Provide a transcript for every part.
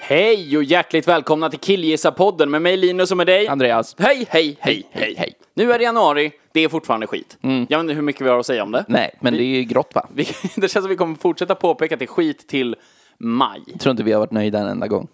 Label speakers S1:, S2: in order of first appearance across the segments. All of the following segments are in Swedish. S1: Hej och hjärtligt välkomna till Killgissa-podden med mig Linus och med dig.
S2: Andreas?
S1: Hej, hej, hej, hej, hej. Nu är det januari, det är fortfarande skit. Jag vet inte hur mycket vi har att säga om det.
S2: Mm. Nej, men det är ju grått va?
S1: Vi, det känns som vi kommer fortsätta påpeka att det är skit till maj.
S2: Tror inte vi har varit nöjda en enda gång.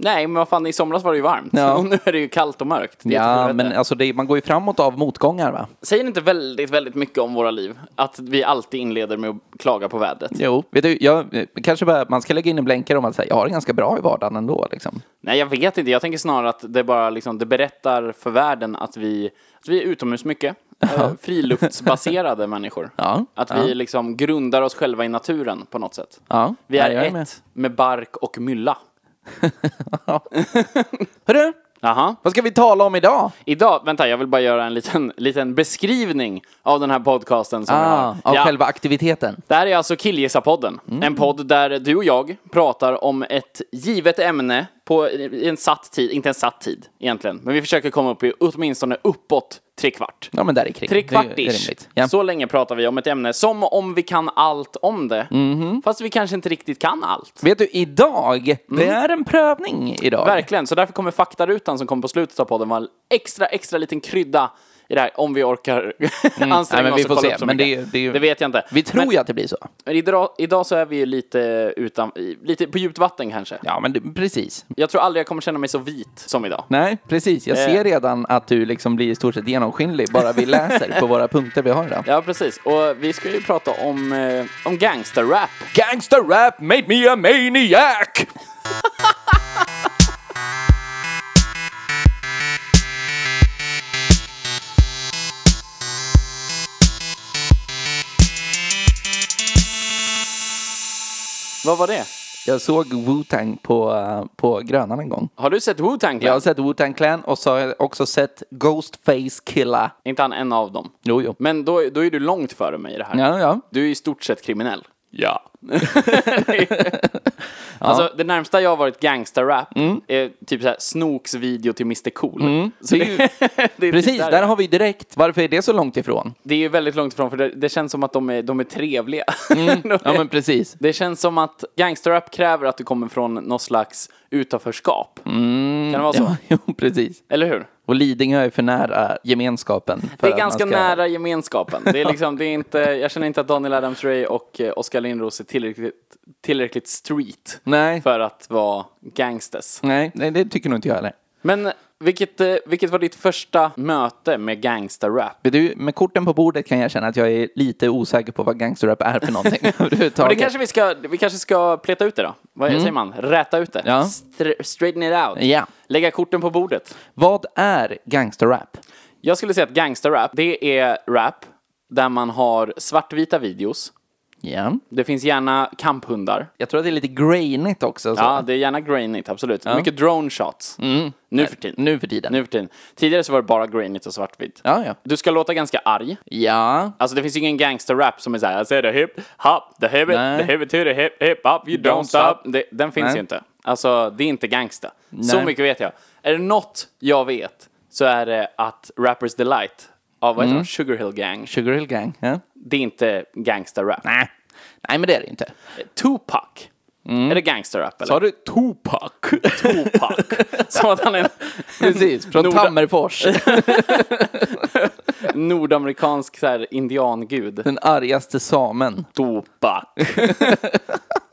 S1: Nej, men vad fan, i somras var det ju varmt.
S2: Ja.
S1: Och nu är det ju kallt och mörkt. Det är ett
S2: Ja,
S1: helvete.
S2: men alltså det, man går ju framåt av motgångar va?
S1: Säger inte väldigt, väldigt mycket om våra liv att vi alltid inleder med att klaga på vädret?
S2: Jo. Vet du, jag, eh, kanske bara, man ska lägga in en blänkare om att säga, jag har det ganska bra i vardagen ändå liksom.
S1: Nej, jag vet inte. Jag tänker snarare att det bara liksom, det berättar för världen att vi, att vi är utomhus mycket. Eh, Friluftsbaserade människor.
S2: Ja,
S1: Att vi liksom grundar oss själva i naturen på något sätt.
S2: Ja,
S1: Vi
S2: nej,
S1: är
S2: jag
S1: ett
S2: med.
S1: med. bark och mylla.
S2: Hörru,
S1: Aha.
S2: vad ska vi tala om idag?
S1: Idag, vänta, jag vill bara göra en liten, liten beskrivning av den här podcasten. Som jag
S2: Ah,
S1: har.
S2: av själva aktiviteten.
S1: Det här är alltså Killgissa-podden.
S2: Mm.
S1: En podd där du och jag pratar om ett givet ämne på i en satt tid, inte en satt tid egentligen, men vi försöker komma upp i åtminstone uppåt trekvart.
S2: Ja, men där är kring.
S1: Tre
S2: Det är ju
S1: kvartish.
S2: rimligt. Ja.
S1: Så länge pratar vi om ett ämne som om vi kan allt om det.
S2: Mhm.
S1: Fast vi kanske inte riktigt kan allt.
S2: Vet du, idag, det är en prövning idag.
S1: Mm. Verkligen, så därför kommer faktarutan som kom på slutet av podden vara en extra, extra liten krydda i det här, om vi orkar anstränga
S2: Mm. Nej, men
S1: oss
S2: vi
S1: och
S2: får
S1: kolla
S2: se.
S1: upp så
S2: Men det är
S1: mycket.
S2: ju- det är ju-
S1: vet jag inte.
S2: Vi tror
S1: men,
S2: ju att det blir så.
S1: men idag, idag så är vi ju lite, utan, i- lite på djupt vatten kanske.
S2: Ja, men det, precis.
S1: Jag tror aldrig jag kommer känna mig så vit som idag.
S2: Nej, precis. Jag
S1: Eh.
S2: ser redan att du liksom blir i stort sett genomskinlig bara vi läser på våra punkter vi har idag.
S1: Ja, precis. Och vi ska ju prata om, eh, om gangsterrap.
S2: Gangster rap made me a maniac!
S1: Vad var det?
S2: Jag såg Wu-Tang på, eh, på Grönan en gång.
S1: Har du sett Wu-Tang
S2: Jag har
S1: Clan?
S2: sett Wu-Tang Clan och så har jag också sett Ghostface Killa.
S1: Är Inte han en av dem.
S2: Jo, jo.
S1: Men då, då är du långt före mig i det här.
S2: Ja, ja.
S1: Du är i stort sett kriminell.
S2: Ja.
S1: Alltså, det närmsta jag har varit gangsterrap
S2: Mm.
S1: är typ såhär Snooks video till Mr Cool. Så
S2: Det är ju-
S1: det är
S2: Mm. Precis,
S1: typ
S2: där har vi direkt. Varför är det så långt ifrån?
S1: Det är ju väldigt långt ifrån för det, det känns som att de är, de är trevliga. De
S2: Mm. Ja,
S1: är-
S2: men precis.
S1: Det känns som att gangsterrap kräver att du kommer från någon slags utanförskap. Kan det vara så?
S2: Mm. Ja, jo, precis.
S1: Eller hur?
S2: Och Lidingö är för nära gemenskapen. för
S1: Det
S2: att
S1: är
S2: man
S1: ganska
S2: ska-
S1: nära gemenskapen. Det är liksom, det är inte, jag känner inte att Daniel Adams-Ray och eh, Oskar Lindros är tillräckligt, tillräckligt street
S2: Nej.
S1: för att vara gangsters.
S2: Nej, nej, det tycker nog inte jag heller.
S1: Men vilket, eh, vilket var ditt första möte med gangsterrap?
S2: Vet Du, med korten på bordet kan jag känna att jag är lite osäker på vad gangsterrap är för någonting
S1: Men
S2: överhuvudtaget.
S1: det kanske vi ska, vi kanske ska pleta ut det då? Vad säger man? Räta ut det?
S2: Mm. Ja.
S1: Str- straighten it out?
S2: Ja.
S1: Lägga korten på bordet?
S2: Vad är gangsterrap?
S1: Jag skulle säga att gangsterrap, det är rap där man har svartvita videos.
S2: Ja.
S1: Det finns gärna kamphundar.
S2: Jag tror att det är lite grainigt också. Så.
S1: Ja, det är gärna grainigt, absolut. Mycket drone shots. Nu för tiden.
S2: Mm. Nu för tiden.
S1: Nu för tiden. Tidigare så var det bara grainigt och svartvitt.
S2: Ja, ja.
S1: Du ska låta ganska arg.
S2: Ja.
S1: Alltså det finns ju ingen gangsterrap som är såhär, I said the hip, hop, the hip, it,
S2: Nej.
S1: the hip it to the hip, hip hop, you don't,
S2: Don't
S1: stop.
S2: stop.
S1: Det, den finns
S2: Nej.
S1: ju inte. Alltså det är inte gangsta. Så mycket vet jag. Är det något jag vet så är det att Rappers Delight av vad heter
S2: Mm.
S1: de? Sugar Hill Gang,
S2: Sugar Hill Gang. Ja.
S1: det är inte gangsterrap.
S2: Nej. Nej, men det är det inte.
S1: Tupac, är det gangsterrap eller?
S2: Mm. Sa du Tupac?
S1: Tupac. Som att han är
S2: Precis, från
S1: Norda-
S2: Tammerfors.
S1: en nordamerikansk så här, indiangud.
S2: Den argaste samen.
S1: Tupac.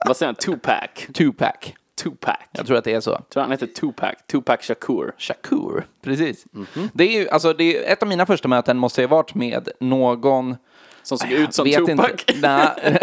S1: Vad säger han? Tupac.
S2: Tupac.
S1: Tupac. Jag
S2: Jag tror att det är så.
S1: tror han heter Tupac. Tupac Shakur.
S2: Shakur. Precis. Det är ju, alltså, det är, ett av mina första möten måste ju ha varit med någon
S1: Som såg ut som
S2: vet
S1: Tupac.
S2: Inte. Nej.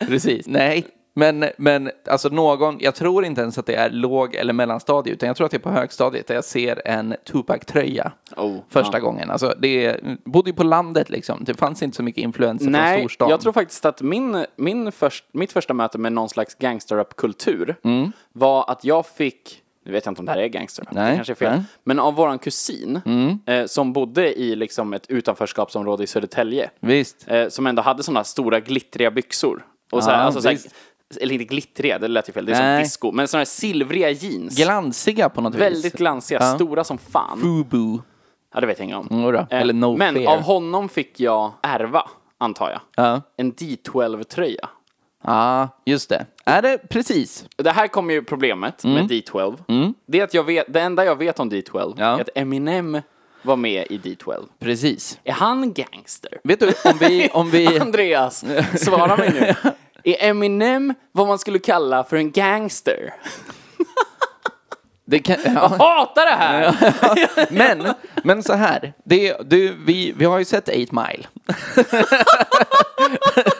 S2: Precis. Nej. Men, men alltså någon, jag tror inte ens att det är låg eller mellanstadie, utan jag tror att det är på högstadiet där jag ser en Tupac-tröja
S1: Oh,
S2: första
S1: ja.
S2: gången. Alltså det är, bodde ju på landet liksom, det fanns inte så mycket influenser från
S1: Nej,
S2: storstan.
S1: jag tror faktiskt att min, min först, mitt första möte med någon slags gangsterrap-kultur
S2: Mm.
S1: var att jag fick, nu vet jag inte om det här är gangsterrap, det
S2: Nej,
S1: kanske är fel,
S2: nej. Mm.
S1: men av våran kusin eh, som bodde i liksom ett utanförskapsområde i Södertälje.
S2: Visst.
S1: eh, som ändå hade sådana stora glittriga byxor. Och så här,
S2: Ja,
S1: alltså, så här,
S2: visst.
S1: eller inte glittriga, det lät ju fel, det är
S2: Nej.
S1: som disco, men sådana här silvriga jeans.
S2: Glansiga på något vis.
S1: Väldigt glansiga,
S2: Ja.
S1: stora som fan.
S2: Fubu.
S1: Ja, det vet jag inget om.
S2: Jodå,
S1: Eh,
S2: Mm, eller No
S1: men
S2: Fear.
S1: av honom fick jag ärva, antar jag,
S2: Ja.
S1: en D12-tröja.
S2: Ja, just det. Är det precis?
S1: Det här kommer ju problemet
S2: Mm.
S1: med D12. Det, är att jag vet, det enda jag vet om D12
S2: Ja.
S1: är att Eminem var med i D12.
S2: Precis.
S1: Är han gangster?
S2: Vet du, om vi... Om vi
S1: Andreas, svara mig nu. Är Eminem vad man skulle kalla för en gangster?
S2: det kan, ja.
S1: Hatar det här!
S2: men, men så här. Det, du, vi, vi har ju sett 8 Mile.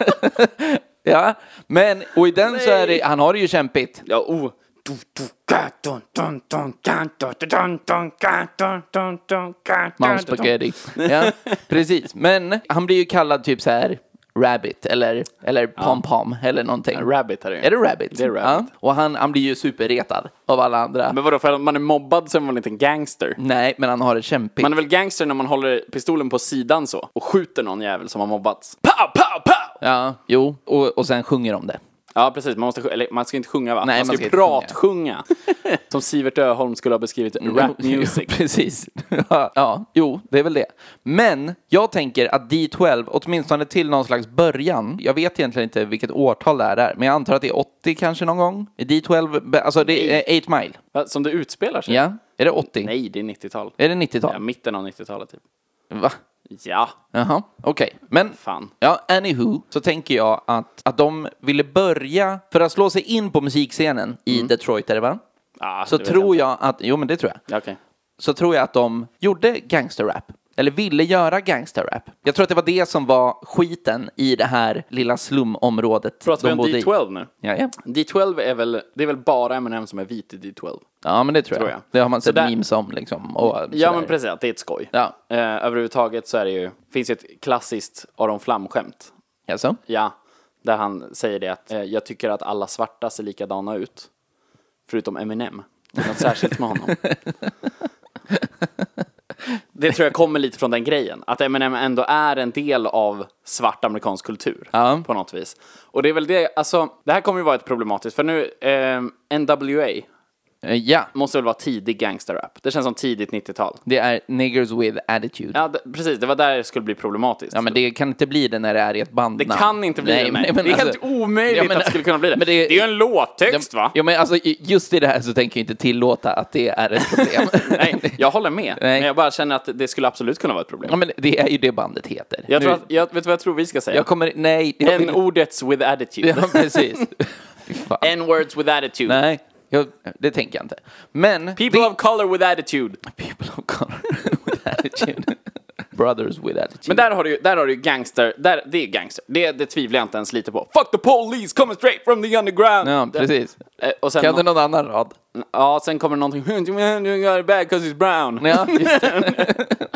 S2: ja, men och i den så är det, han har det ju kämpigt.
S1: Ja, oh. Du, du, ga, dun, dun, dun, ga, dun, dun, dun, ga, dun, dun, dun, ga,
S2: Mom
S1: dun, dun, dun.
S2: Spaghetti. Ja, precis. Men han blir ju kallad typ så här Rabbit eller, eller Pom Pom eller någonting.
S1: Rabbit är det.
S2: Är det Rabbit?
S1: Det är Rabbit.
S2: Ja. Och han, han blir ju superretad av alla andra.
S1: Men vadå, för att man är mobbad så är man inte en gangster?
S2: Nej, men han har det kämpigt.
S1: Man är väl gangster när man håller pistolen på sidan så och skjuter någon jävel som har mobbats? Pow, pow, pow!
S2: Ja, jo, och, och sen sjunger de det.
S1: Ja, precis. Man, måste, sj- eller, man ska inte sjunga va?
S2: Nej,
S1: man
S2: man
S1: ska ju
S2: ska inte Mm.
S1: pratsjunga. som Sivert Öholm skulle ha beskrivit rap music.
S2: Precis. Ja, ja, jo, det är väl det. Men jag tänker att D12, åtminstone till någon slags början, jag vet egentligen inte vilket årtal det här är, men jag antar att det är 80 kanske någon gång. Är D12, be- alltså det är 8 Mile.
S1: Va, Som det utspelar sig?
S2: Ja, är det 80?
S1: Nej, det är 90-tal.
S2: Är det 90-tal?
S1: Ja, mitten av 90-talet typ.
S2: Va?
S1: Ja,
S2: Jaha, okej. Men,
S1: Fan.
S2: ja, anywho, så tänker jag att, att de ville börja, för att slå sig in på musikscenen i Detroit, är det va?
S1: Ah,
S2: så
S1: Mm. det vet
S2: tror
S1: inte.
S2: jag, att, jo men det tror jag,
S1: Ja, okej.
S2: så tror jag att de gjorde gangsterrap. Eller ville göra gangsterrap. Jag tror att det var det som var skiten i det här lilla slumområdet
S1: Pratar vi
S2: de
S1: om
S2: bodde i.
S1: D12 nu?
S2: Ja, ja.
S1: D12 är väl, det är väl bara M&M som är vit i D12?
S2: ja, men det tror jag.
S1: Tror jag.
S2: Det har man sett
S1: där-
S2: memes om liksom. Och,
S1: Ja
S2: sådär.
S1: men precis, att det är ett skoj.
S2: Ja.
S1: Eh, överhuvudtaget så är det ju, finns ju ett klassiskt Aron Flam-skämt.
S2: Jaså?
S1: Ja, där han säger det att eh, jag tycker att alla svarta ser likadana ut. Förutom Eminem. Det är något särskilt med honom. Det tror jag kommer lite från den grejen. Att Eminem ändå är en del av svart amerikansk kultur.
S2: Ja.
S1: På något vis. Och det är väl det, alltså det här kommer ju vara ett problematiskt. För nu, eh, NWA
S2: Eh, Ja,
S1: måste väl vara tidig gangsterrap. Det känns som tidigt 90-tal.
S2: det är niggers with attitude.
S1: Ja, d- precis. Det var där det skulle bli problematiskt.
S2: Ja, men det kan inte bli det när det är i ett band.
S1: Det kan inte bli det, nej. Det är helt omöjligt att det skulle kunna bli det.
S2: Men
S1: det,
S2: det-
S1: är ju en låttext va?
S2: alltså- Ja, men alltså, i- just i det här så tänker jag inte tillåta att det är ett problem.
S1: Nej, jag håller med.
S2: Nej.
S1: Men jag bara känner att det skulle absolut kunna vara ett problem.
S2: ja, men det är ju det bandet heter.
S1: Jag tror
S2: Nu-
S1: att, jag, vet du vad jag tror vi ska säga?
S2: jag kommer... Nej. det-
S1: N-ordets with attitude.
S2: Ja, precis. Fy fan.
S1: N-words with attitude.
S2: Nej, jag, det tänker jag inte. Men...
S1: People
S2: det,
S1: of color with attitude.
S2: people of color with attitude. Brothers with attitude.
S1: Men där har du ju- där har du ju gangster, där, det är gangster. Det, det tvivlar jag inte ens lite på. Fuck the police, coming straight from the underground.
S2: Ja, precis.
S1: Eh, Och sen,
S2: Kan du någon annan rad?
S1: ja, sen kommer någonting, you got it bad 'cause he's brown.
S2: Ja, just det.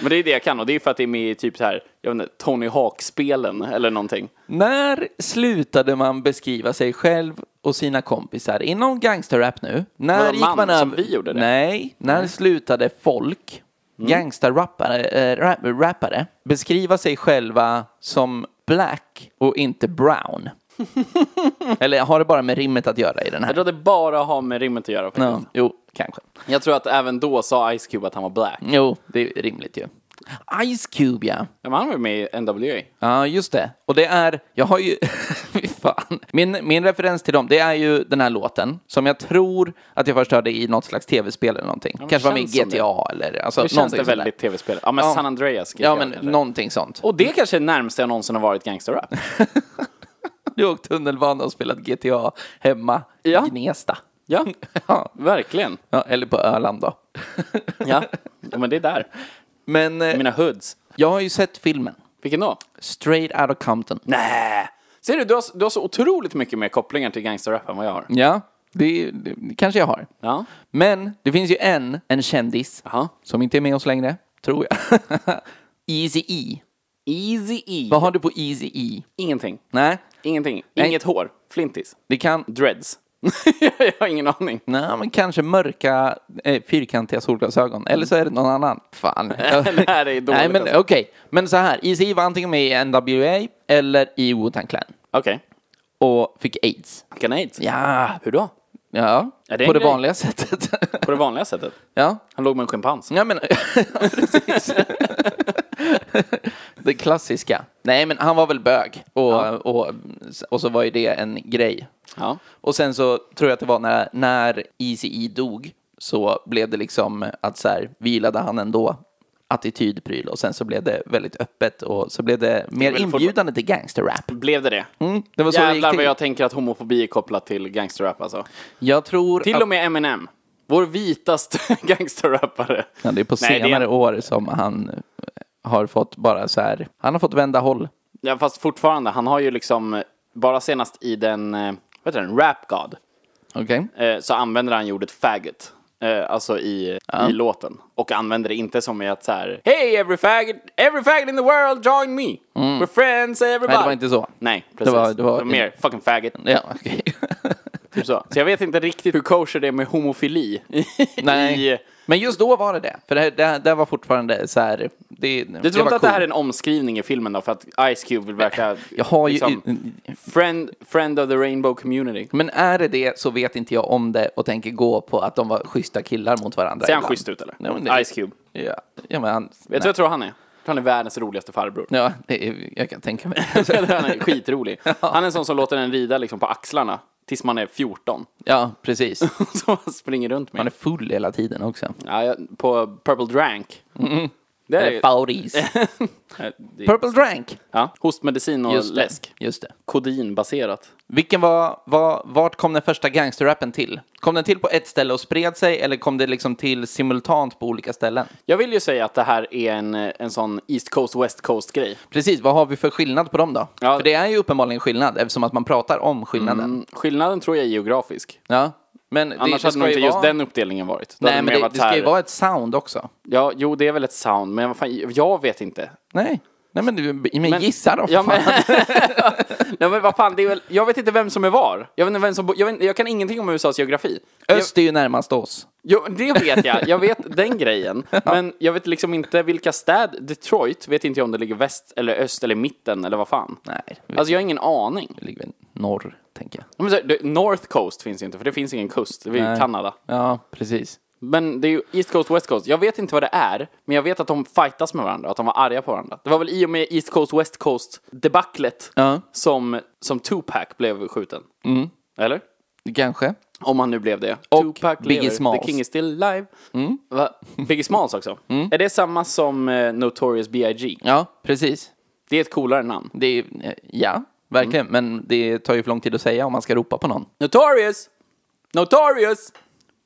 S1: Men det är det jag kan och det är för att det är med i typ så här, jag vet inte, Tony Hawk-spelen eller någonting.
S2: När slutade man beskriva sig själv och sina kompisar inom gangsterrap nu? När
S1: Vadå, man som
S2: över-
S1: vi gjorde det?
S2: Nej, Mm. när slutade folk, gangsterrappare, äh, rap, rappare, beskriva sig själva som black och inte brown? Eller har det bara med rimmet att göra i den
S1: Jag
S2: här?
S1: tror att det bara har med rimmet att göra faktiskt.
S2: Ja, jo, kanske.
S1: Jag tror att även då sa Ice Cube att han var black.
S2: Jo, det är rimligt ju. Ice Cube, ja.
S1: Men han var ju med i NWA.
S2: Ja, just det. Och det är, jag har ju, fy fan. Min, min referens till dem, det är ju den här låten som jag tror att jag först hörde i något slags tv-spel eller någonting. Kanske var med i
S1: känns som det.
S2: GTA eller alltså,
S1: Det känns
S2: någonting
S1: det
S2: sånt där.
S1: väldigt tv-spel. Ja, men
S2: Ja.
S1: San Andreas.
S2: Ja, men
S1: kanske.
S2: någonting sånt.
S1: Och det kanske är det närmaste jag någonsin har varit gangsterrap.
S2: Du har åkt tunnelbana och spelat GTA hemma
S1: Ja.
S2: i Gnesta.
S1: ja,
S2: Ja.
S1: verkligen.
S2: ja, eller på Öland då.
S1: Ja. ja, men det är där.
S2: Men eh,
S1: Mina hoods.
S2: jag har ju sett filmen,
S1: Vilken då?
S2: Straight Outta Compton.
S1: Nej. Ser du, du har, du har så otroligt mycket mer kopplingar till gangsterrap än vad jag har.
S2: Ja, det, det kanske jag har.
S1: Ja.
S2: Men det finns ju en, en kändis
S1: Jaha.
S2: som inte är med oss längre, tror jag. Easy E.
S1: Easy E.
S2: Vad har du på Easy E?
S1: Ingenting.
S2: Nej,
S1: Ingenting.
S2: Nej.
S1: Inget hår. Flintis.
S2: det kan...
S1: Dreads. jag har ingen aning.
S2: Nej, men kanske mörka, eh, fyrkantiga solglasögon. Eller så är det någon annan. Fan.
S1: Det här är dåligt.
S2: Nej, men
S1: alltså.
S2: okej. Men så här, Easy E var antingen med i NWA eller i Wu-Tang Clan.
S1: Okej.
S2: Och fick aids.
S1: Grenades.
S2: Ja,
S1: Hur då?
S2: ja.
S1: det är
S2: på
S1: en
S2: det
S1: grej.
S2: vanliga sättet.
S1: På det vanliga sättet.
S2: ja.
S1: Han låg med en schimpans.
S2: Ja, men precis. det klassiska. Nej, men han var väl bög. Och, och, och så var ju det en grej.
S1: Ja.
S2: Och sen så tror jag att det var när, när ECE dog så blev det liksom att så här, vi gillade han ändå attitydpryl och sen så blev det väldigt öppet och så blev det mer
S1: väl
S2: inbjudande till gangsterrap.
S1: Blev det det?
S2: Mm, det var så det gick
S1: Jävlar
S2: till.
S1: vad jag tänker att homofobi är kopplat till gangsterrap alltså.
S2: Jag tror
S1: Till
S2: att
S1: och med Eminem. Vår vitaste gangsterrappare.
S2: ja, det är på
S1: Nej, det är-
S2: senare år som han eh, har fått bara så här, han har fått vända håll.
S1: Ja, fast fortfarande, han har ju liksom, eh, bara senast i den, eh, vad heter den, Rap God,
S2: Okej?
S1: eh, så använder han ju ordet faggot. eh, Alltså i, i låten. Och använder det inte som i att så här, Hey every faggot, every faggot in the world join me! We're friends everybody!
S2: Mm. Nej, det var inte så.
S1: Nej, precis. Det
S2: var-
S1: var,
S2: det var-
S1: mer fucking faggot.
S2: Ja, okej.
S1: Typ så. så jag vet inte riktigt hur kosher det är med homofili.
S2: Nej.
S1: I,
S2: Men just då var det det. För det, här- det, här- det här var fortfarande så här... Det,
S1: Du tror
S2: var
S1: inte att det här är
S2: cool.
S1: en omskrivning i filmen då? För att Ice Cube vill verka... liksom
S2: Jag har ju...
S1: friend, friend of the rainbow community.
S2: Men är det det så vet inte jag om det och tänker gå på att de var schyssta killar mot varandra.
S1: Ser han
S2: ibland.
S1: schysst ut eller?
S2: Nej, men det-
S1: Ice Cube.
S2: Ja, ja men han...
S1: Vet du vad jag tror han är? Jag tror han är världens roligaste farbror.
S2: Ja, det är, jag kan tänka mig.
S1: han är skitrolig. Han är en sån som låter den rida liksom på axlarna tills man är 14.
S2: ja, precis.
S1: Som han springer runt med.
S2: Han är full hela tiden också.
S1: Ja, jag- på Purple Drank. Det
S2: Mm-hmm. Eller
S1: är... eh,
S2: fauris.
S1: det är-
S2: Purple Drank!
S1: Ja, hostmedicin och
S2: Just det.
S1: läsk.
S2: Just det.
S1: Kodinbaserat.
S2: Vilken var, var, vart kom den första gangsterrappen till? Kom den till på ett ställe och spred sig eller kom det liksom till simultant på olika ställen?
S1: Jag vill ju säga att det här är en, eh, en sån East Coast, West Coast-grej.
S2: Precis, vad har vi för skillnad på dem då?
S1: Ja.
S2: För det är ju uppenbarligen skillnad eftersom att man pratar om skillnaden.
S1: Skillnaden tror jag är geografisk.
S2: Ja. Men det,
S1: Annars
S2: det
S1: hade
S2: ska
S1: nog inte
S2: ju
S1: just
S2: vara...
S1: den uppdelningen varit. Då hade
S2: Nej, men
S1: mer
S2: det,
S1: varit
S2: det
S1: så
S2: ska ju
S1: här-
S2: vara ett sound också.
S1: Ja, jo, det är väl ett sound, men vad fan, jag vet inte.
S2: Nej, Nej men, du, men, gissa då.
S1: Ja,
S2: fan.
S1: men, Nej, men vad fan, det är väl, jag vet inte vem som är var. Jag, vet inte vem som, bo- jag, vet, jag kan ingenting om USAs geografi.
S2: Öst är ju närmast oss.
S1: Jo, det vet jag. Jag vet den grejen. Men jag vet liksom inte vilka städer. Detroit vet inte jag om det ligger väst eller öst eller mitten eller vad fan.
S2: Nej, vi
S1: Alltså jag har ingen aning.
S2: ligger väl norr, tänker jag.
S1: Men så, det- North Coast finns ju inte, för det finns ingen kust. Det är ju Kanada.
S2: Ja, precis.
S1: Men det är ju East Coast, West Coast. Jag vet inte vad det är, men jag vet att de fightas med varandra, att de var arga på varandra. Det var väl i och med East Coast, West Coast debaclet
S2: Ja.
S1: som, som Tupac blev skjuten. Eller?
S2: Kanske.
S1: Om han nu blev det.
S2: Och
S1: Tupac
S2: Biggie
S1: lever.
S2: Smalls. Mm.
S1: The King is still alive. Va? Biggie Smalls också. Är det samma som eh, Notorious B.I.G.?
S2: Ja, precis.
S1: Det är ett coolare namn.
S2: Det är, ja,
S1: Mm.
S2: verkligen. Men det tar ju för lång tid att säga om man ska ropa på någon.
S1: Notorious! Notorious!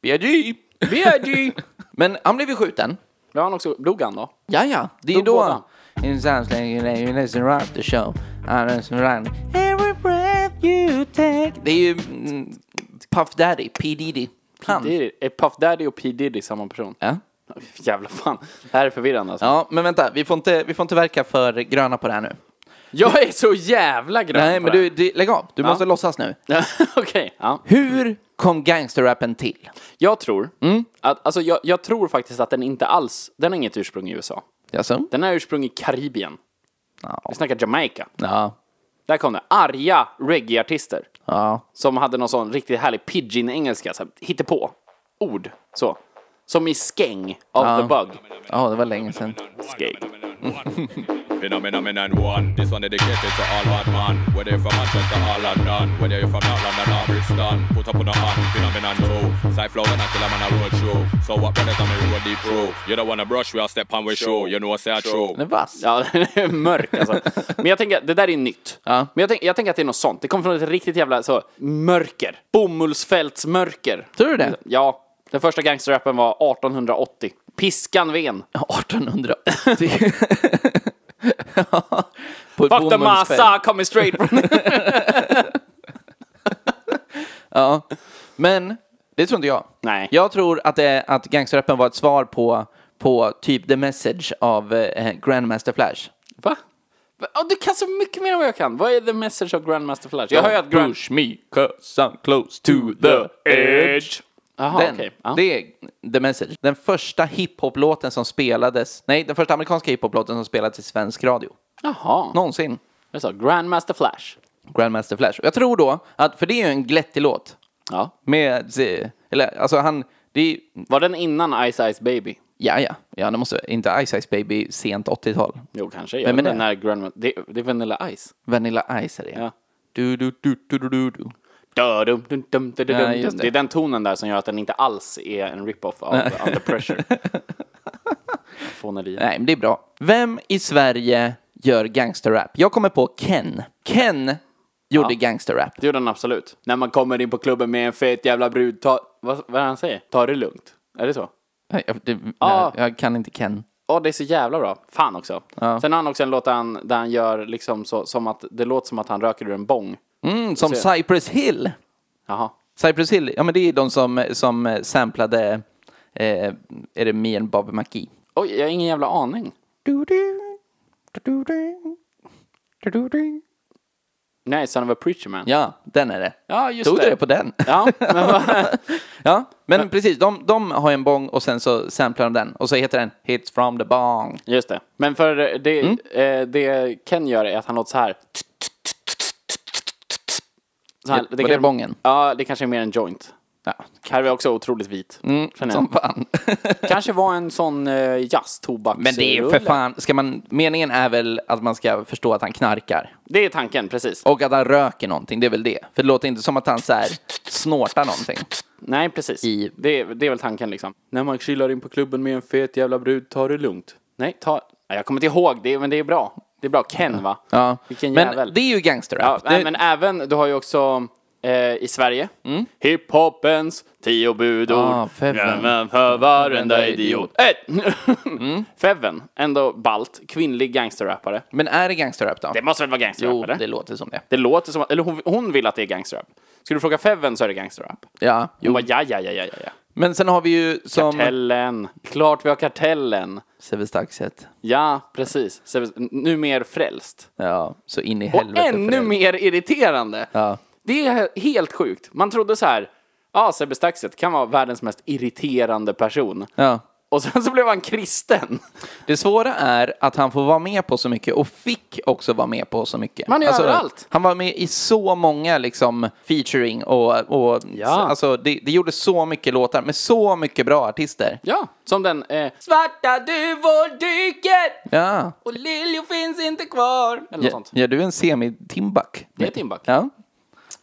S2: BRG!
S1: B.I.G.
S2: Men han blev ju skjuten.
S1: Blev han också... Dog han då?
S2: Ja, ja, det är ju
S1: Då
S2: då.
S1: båda.
S2: In sounds like you lay- you listen right the show. I listen right every breath you take. Det är ju mm, Puff Daddy, P Diddy. Han.
S1: Det är, är Puff Daddy och P. Diddy samma person?
S2: Ja.
S1: Jävla fan. Det här är förvirrande alltså.
S2: ja, men vänta, vi får, inte, vi får inte verka för gröna på det här nu.
S1: Jag är så jävla grön
S2: Nej,
S1: på
S2: men
S1: det
S2: du, du lägg av. Du måste låtsas nu.
S1: här. Okej. Ja.
S2: Hur kom gangsterrappen till?
S1: Jag tror
S2: Mm.
S1: att, alltså jag, jag tror faktiskt att den inte alls, den har inget ursprung i USA.
S2: Jaså?
S1: Den har ursprung i Karibien.
S2: Ja.
S1: Vi snackar Jamaica.
S2: Ja.
S1: Där kom det. Arga reggae-artister.
S2: Ja.
S1: Som hade någon sån riktigt härlig pidgin-engelska, så här, hittepå. Ord. Så. Som i Skeng av The Bug.
S2: Ja, det var länge sedan.
S1: Skeng.
S3: Phenomenon one. This one dedicated to all hard man. Whether you're from Manchester, all hard none. Whether you're from North London or Brixton. Put up on the hand. Phenomenon two. Side flow and I kill 'em on a road show. So what brothers on the road deep row? You don't wanna brush, we all step on with show. You know what say I true.
S2: Den är vass.
S1: Ja, den är mörk alltså. Men jag tänker, att det där är nytt.
S2: Ja.
S1: Men jag, tänk, jag tänker att det är något sånt. Det kommer från ett riktigt jävla så, mörker. Bomullsfältsmörker.
S2: Tror du det?
S1: Ja. Den första gangsterrappen var 1880. Piskan ven.
S2: 1880. Ja. På ett
S1: Fuck the
S2: bomullsfält.
S1: massa coming straight from...
S2: Ja. Men det tror inte jag.
S1: Nej.
S2: Jag tror att, det, att gangsterrappen var ett svar på, på typ the message av eh, Grandmaster Flash.
S1: Va? Va? Ja, du kan så mycket mer än vad jag kan. Vad är the message of Grandmaster Flash? Jag hör ju att Grand...
S2: Push me cause I'm close to the edge.
S1: Jaha,
S2: Den,
S1: okej. Ja.
S2: Det är the message. Den första hiphop-låten som spelades, nej, den första amerikanska hiphop-låten som spelades i svensk radio.
S1: Jaha.
S2: Någonsin.
S1: Jag sa Grandmaster Flash.
S2: Grandmaster Flash. Och Jag tror då att, för det är ju en glättig låt.
S1: Ja.
S2: Med, eh, eller alltså han, det är
S1: Var den innan Ice Ice Baby?
S2: ja ja, ja det måste, inte Ice Ice Baby sent 80-tal.
S1: Jo, kanske. Jag
S2: Vem är
S1: vet inte
S2: det?
S1: När Grandma... det, det är Vanilla Ice.
S2: Vanilla Ice är det
S1: Ja.
S2: Du, du, du, du, du, du, du.
S1: Dum, dum, dum, dum,
S2: Ja,
S1: dum,
S2: just
S1: dum.
S2: det.
S1: Det är den tonen där som gör att den inte alls är en rip-off av Under Pressure. Fånerier.
S2: Nej, men det är bra. Vem i Sverige gör gangsterrap? Jag kommer på Ken. Ken gjorde gangsterrap.
S1: Det gjorde han absolut. När man kommer in på klubben med en fet jävla brud, ta... Vad, vad är det han säger? Ta det lugnt. Är det så?
S2: Nej, Jag, det,
S1: Ah.
S2: nej, jag kan inte Ken.
S1: Ja, det är så jävla bra. Fan också. Sen har han också en låt där han, där han gör liksom så, som att det låter som att han röker ur en bong.
S2: Mm, som Cypress Hill.
S1: Jaha.
S2: Cypress Hill, ja men det är de som, som samplade, eh, är det Me and Bobby McGee?
S1: Oj, jag har ingen jävla aning.
S2: Du, du, du, du, du, du, du.
S1: Nej, Son of a Preacher Man.
S2: Ja, den är det.
S1: Ja, just
S2: Tog
S1: det.
S2: du det på den?
S1: Ja, men vad-
S2: Ja, men precis. De, de har en bong och sen så samplar de den. Och så heter den Hits from the bong.
S1: just det. Men för det,
S2: Mm.
S1: eh, det Ken gör är att han låter så här. Så här
S2: Var det bongen?
S1: Ja, det kanske är mer en joint.
S2: Ja,
S1: Här är vi också otroligt vit. känner jag.
S2: som fan.
S1: Kanske var en sån eh, jazztobaksrulle.
S2: Men det är ju för fan, ska man, meningen är väl att man ska förstå att han knarkar.
S1: Det är tanken, precis.
S2: Och att han röker någonting, det är väl det. För det låter inte som att han så här snortar någonting.
S1: Nej, precis.
S2: I-
S1: Det, är- det är väl tanken liksom. När man chillar in på klubben med en fet jävla brud, ta det lugnt. Nej, ta... Ja, Jag kommer inte ihåg, det, men det är bra. Det är bra. Ken, va?
S2: Ja.
S1: Vilken
S2: men
S1: jävel.
S2: det är ju gangsterrap.
S1: Ja,
S2: Det-
S1: nej, men även, du har ju också eh, i Sverige, hiphopens tio budord.
S2: Mm. Ah, Feven.
S1: Ja, men för varenda idiot. Ett!
S2: Mm.
S1: Feven, ändå balt, kvinnlig gangsterrappare.
S2: men är det gangsterrap då?
S1: Det måste väl vara
S2: jo,
S1: gangsterrappare?
S2: det låter som det.
S1: Det låter som att, eller hon, hon vill att det är gangsterrap. Skulle du fråga Feven så är det gangsterrap.
S2: Ja,
S1: Hon
S2: jo.
S1: bara ja, ja, ja, ja, ja, ja.
S2: Men sen har vi ju som...
S1: Kartellen. Klart vi har kartellen.
S2: Sävestaxet.
S1: Ja, precis. Så- Nu mer frälst.
S2: Ja, så in i
S1: Och
S2: helvete.
S1: ännu
S2: för det.
S1: mer irriterande.
S2: Ja.
S1: Det är he- helt sjukt. Man trodde så här, ja, Sebbe Staxet kan vara världens mest irriterande person.
S2: Ja.
S1: Och sen så blev han kristen.
S2: Det svåra är att han får vara med på så mycket och fick också vara med på så mycket. Alltså,
S1: Man är överallt.
S2: Han var med i så många liksom featuring och, och alltså, det, det gjorde så mycket låtar med så mycket bra artister.
S1: Ja, som den eh, svarta duvor dyker
S2: Ja.
S1: och liljor finns inte kvar. Eller något
S2: Ja,
S1: sånt.
S2: ja, du är en semi-Timbuk.
S1: Det är Timbuk.
S2: Ja.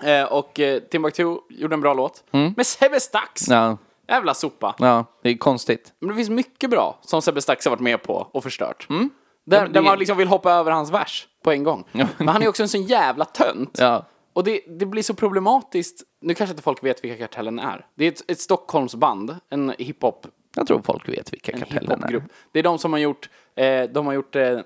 S1: Eh, och eh, Timbuktu gjorde en bra låt. Med Sebbe Stax.
S2: Mm. Ja.
S1: Jävla sopa.
S2: ja, det är konstigt.
S1: Men det finns mycket bra som Sebbe Stax har varit med på och förstört. Där,
S2: Mm. det-
S1: där man liksom vill hoppa över hans vers på en gång. Men han är också en sån jävla tönt.
S2: Ja.
S1: Och det, det blir så problematiskt. Nu kanske inte folk vet vilka Kartellen är. Det är ett, ett Stockholmsband, en hiphop,
S2: Jag tror folk vet vilka
S1: en
S2: Kartellen är.
S1: hiphopgrupp. Det är de som har gjort, eh, de har gjort eh,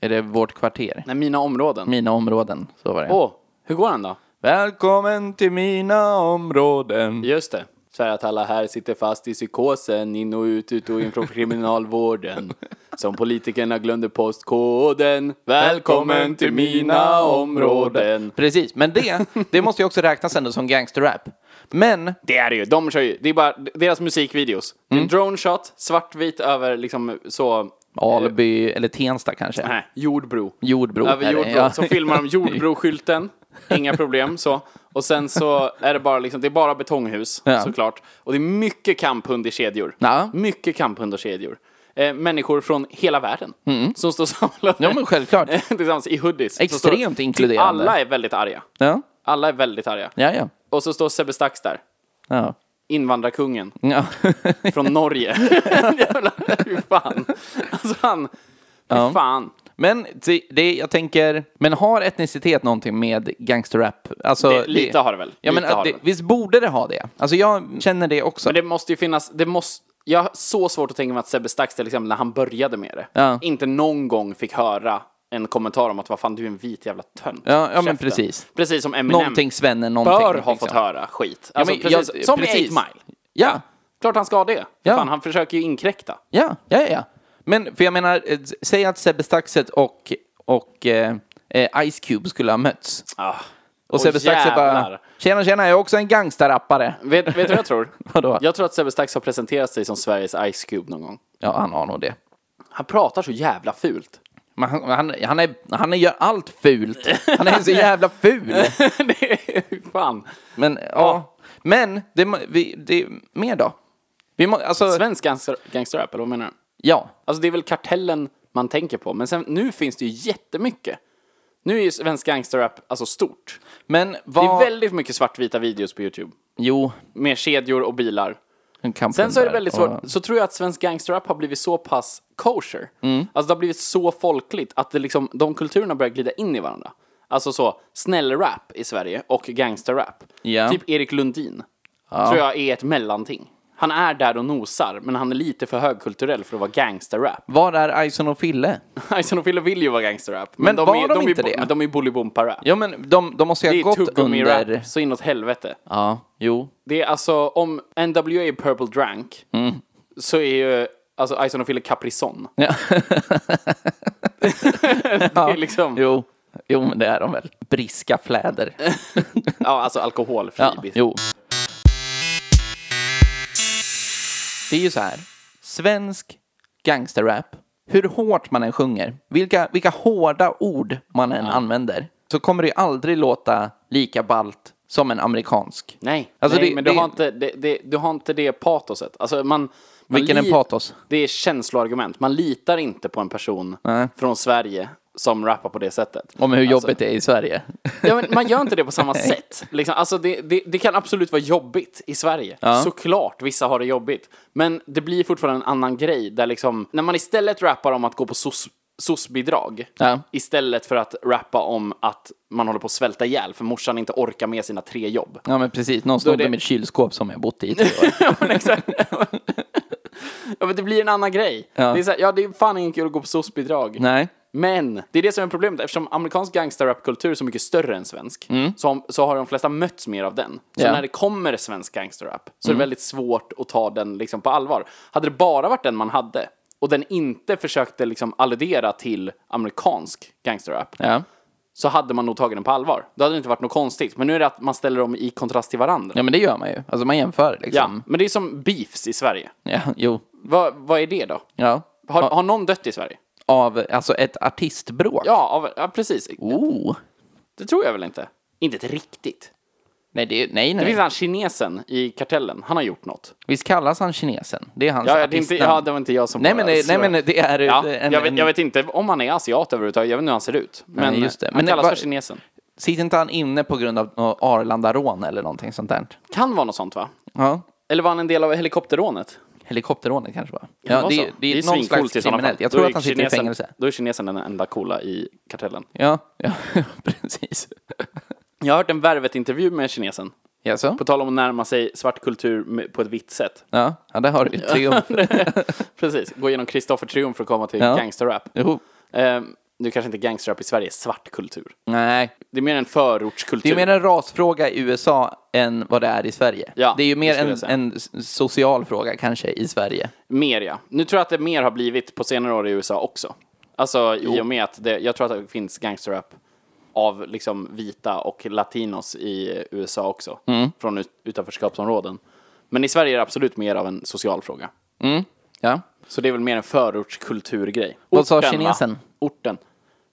S2: Är det Vårt Kvarter?
S1: nej, Mina områden.
S2: Mina områden, så var det.
S1: Åh, hur går den då?
S2: Välkommen till mina områden.
S1: Just det. Så här att alla här sitter fast i psykosen, in och ut, ut och in från kriminalvården. Som politikerna glömde postkoden. Välkommen till mina områden.
S2: Precis, men det, det måste ju också räknas ändå som gangsterrap. Men
S1: Det är det ju. De kör ju. Det är bara deras musikvideos. Det är en drone shot, svartvit över liksom så...
S2: Alby eller Tensta kanske.
S1: Nej, Jordbro.
S2: Jordbro är
S1: Över
S2: det,
S1: Jordbro.
S2: ja.
S1: Så filmar de Jordbroskylten. Inga problem så. Och sen så är det bara liksom, det är bara betonghus
S2: Ja.
S1: såklart. Och det är mycket kamphund i kedjor.
S2: Ja.
S1: Mycket kamphund och kedjor. Eh, människor från hela världen som står samlade.
S2: Mm. Ja, men självklart.
S1: tillsammans i hoodies. Så
S2: Extremt inkluderande.
S1: Alla är väldigt arga.
S2: Ja,
S1: Alla är väldigt arga.
S2: ja, ja.
S1: Och så står Sebbe Stax där.
S2: ja.
S1: Invandrarkungen
S2: ja.
S1: från Norge. Jävlar, hur fan. Alltså han, hur fan.
S2: Men det, det, jag tänker, men har etnicitet någonting med gangsterrap? Alltså,
S1: Det- lite har det väl.
S2: Ja, men
S1: Lite
S2: att
S1: har det
S2: det,
S1: väl.
S2: visst borde det ha det? Alltså jag känner det också.
S1: Men det måste ju finnas, det måste, jag har så svårt att tänka mig att Sebbe Stax till exempel när han började med det,
S2: Ja.
S1: inte någon gång fick höra en kommentar om att vad fan, du är en vit jävla tönt.
S2: Ja, ja, men
S1: Käften.
S2: precis.
S1: Precis som Eminem
S2: Någonting svennen, någonting.
S1: bör ha
S2: liksom.
S1: fått höra skit.
S2: Ja,
S1: Alltså,
S2: men jag-
S1: precis, som i 8 Mile.
S2: Ja,
S1: Klart han ska det.
S2: Ja.
S1: Fan, han försöker ju inkräkta.
S2: ja, ja, ja, ja. Men för jag menar, eh, säg att Sebbe Staxet och, och eh, eh, Ice Cube skulle ha mötts.
S1: Ah.
S2: Och
S1: Åh,
S2: Sebbe Staxet bara,
S1: jävlar.
S2: tjena tjena, jag är också en gangsterrappare.
S1: Vet, vet du vad jag tror?
S2: Vadå?
S1: Jag tror att Sebbe Stax har presenterat sig som Sveriges Ice Cube någon gång.
S2: Ja, han har nog det.
S1: Han pratar så jävla fult.
S2: Men han, han, han, är, han är, gör allt fult. Han är så jävla ful.
S1: det är, fan.
S2: Men, ja. Men, det, må- vi, det, mer då? Vi må, alltså,
S1: Svensk gangster, gangsterrap, eller vad menar du?
S2: ja.
S1: Alltså det är väl kartellen man tänker på, men sen, nu finns det ju jättemycket. Nu är ju svensk gangsterrap alltså stort.
S2: Men
S1: Det
S2: vad...
S1: är väldigt mycket svartvita videos på YouTube.
S2: Jo.
S1: Med kedjor och bilar.
S2: kampen
S1: Sen så är det
S2: där.
S1: väldigt
S2: Och-
S1: svårt, så tror jag att svensk gangsterrap har blivit så pass kosher.
S2: Mm.
S1: Alltså det har blivit så folkligt att det liksom, de kulturerna börjar glida in i varandra. Alltså så, snäll-rap i Sverige och gangsterrap.
S2: Ja.
S1: Typ Erik Lundin. Tror jag är ett mellanting. Han är där och nosar, men han är lite för högkulturell för att vara gangsterrap.
S2: Var är Ison och Fille?
S1: Ison och Fille vill ju vara gangsterrap.
S2: Men
S1: de
S2: var
S1: är,
S2: de
S1: är,
S2: inte
S1: bo-
S2: det?
S1: Men de är bolibompa-rap.
S2: Ja, men de, de måste
S1: Det
S2: ju
S1: är
S2: ha gått
S1: tuggummi-rap
S2: under...
S1: så inåt helvete.
S2: Ja, jo.
S1: Det är alltså, om NWA är Purple Drank så är ju alltså Ison och Fille Caprison.
S2: Mm. Ja.
S1: Det är liksom,
S2: Jo. Jo, men det är de väl. Briska fläder.
S1: ja alltså alkoholfri
S2: Ja,
S1: bit.
S2: jo. Det är ju så här. Svensk gangsterrap. Hur hårt man än sjunger, vilka, vilka hårda ord man än använder, så kommer det ju aldrig låta lika balt som en amerikansk.
S1: Nej,
S2: Alltså,
S1: nej
S2: det-
S1: men du,
S2: det-
S1: har inte, det, det, du har inte det patoset. Alltså man, man
S2: Vilken är
S1: lit-
S2: patos?
S1: Det är känsloargument. Man litar inte på en person
S2: Nej.
S1: från Sverige som rappar på det sättet.
S2: Om hur jobbigt
S1: alltså,
S2: det är i Sverige.
S1: Ja, men man gör inte det på samma sätt. Liksom, alltså det, det, det kan absolut vara jobbigt i Sverige. Såklart, vissa har det jobbigt. Men det blir fortfarande en annan grej där liksom, när man istället rappar om att gå på soc- soc-bidrag
S2: Ja.
S1: istället för att rappa om att man håller på att svälta ihjäl för morsan inte orkar med sina tre jobb.
S2: Ja men precis, någon snodde
S1: det-
S2: mitt kylskåp som jag bott i i tre år.
S1: ja, men exakt. ja, men det blir en annan grej. Det är så här, ja, det är fan ingen kul att gå på soc-bidrag.
S2: Nej.
S1: Men det är det som är problemet. Eftersom amerikansk gangsterrapkultur är så mycket större än svensk så, så har de flesta mötts mer av den. Så
S2: Mm. Ja. Mm.
S1: när det kommer svensk gangsterrap så är det väldigt svårt att ta den liksom på allvar. Hade det bara varit den man hade och den inte försökte liksom alludera till amerikansk gangsterrap
S2: Ja.
S1: så hade man nog tagit den på allvar. Då hade det inte varit något konstigt. Men nu är det att man ställer dem i kontrast till varandra.
S2: ja men det gör man ju. Alltså man jämför
S1: Ja,
S2: liksom.
S1: men det är som beefs i Sverige.
S2: Ja. jo.
S1: Vad, vad är det då?
S2: Ja.
S1: Har, har någon dött i Sverige?
S2: Av, alltså ett artistbråk.
S1: Ja, av, ja precis.
S2: Oh.
S1: Det tror jag väl inte. Inte ett riktigt.
S2: Nej, det, nej,
S1: Det
S2: nej.
S1: finns han kinesen i kartellen, han har gjort något.
S2: Visst kallas han kinesen? Det är hans
S1: Ja, ja, det, är inte,
S2: artistnamn.
S1: ja det var inte jag som
S2: Alltså, nej,
S1: bara
S2: men, det- nej
S1: slår.
S2: men det är
S1: ja,
S2: en,
S1: jag, vet,
S2: en,
S1: jag vet inte om han är asiat överhuvudtaget, jag vet inte hur han ser ut. Men
S2: Nej, just det.
S1: han
S2: Men det
S1: kallas
S2: var-
S1: för kinesen.
S2: Sitter inte han inne på grund av något Arlandarån eller någonting sånt där?
S1: Kan vara något sånt va?
S2: Ja.
S1: Eller var han en del av helikopterrånet?
S2: Helikopterrånet kanske va?
S1: Kan
S2: Ja,
S1: vara
S2: det,
S1: så?
S2: är- det är,
S1: ju
S2: någon
S1: svincoolt
S2: slags
S1: i sådana
S2: kriminellt.
S1: fall.
S2: Jag
S1: Då
S2: tror
S1: är
S2: att han sitter
S1: kinesen-
S2: i fängelse.
S1: Då är kinesen den enda coola i kartellen.
S2: Ja, ja precis.
S1: Jag har hört en Värvet-intervju med kinesen.
S2: Jaså?
S1: På tal om att närma sig svart kultur med- på ett vitt sätt.
S2: Ja, ja, där har du ju triumf.
S1: Precis, gå igenom Kristoffer Triumf för att komma till
S2: Ja.
S1: gangsterrap.
S2: Jo.
S1: Ehm, nu kanske inte gangsterrap i Sverige är svart kultur.
S2: Nej,
S1: Det är mer en förortskultur.
S2: Det är mer en rasfråga i USA än vad det är i Sverige.
S1: Ja,
S2: det är ju
S1: det
S2: mer
S1: skulle
S2: en,
S1: jag säga.
S2: en s- social fråga kanske i Sverige.
S1: Mer ja. Nu tror jag att det mer har blivit på senare år i USA också. Alltså i och med att det, jag tror att det finns gangsterrap av liksom vita och latinos i USA också.
S2: Mm.
S1: Från ut, utanförskapsområden. Men i Sverige är det absolut mer av en social fråga.
S2: Ja.
S1: Så det är väl mer en förortskulturgrej.
S2: Vad sa
S1: Orten, va?
S2: kinesen?
S1: Orten.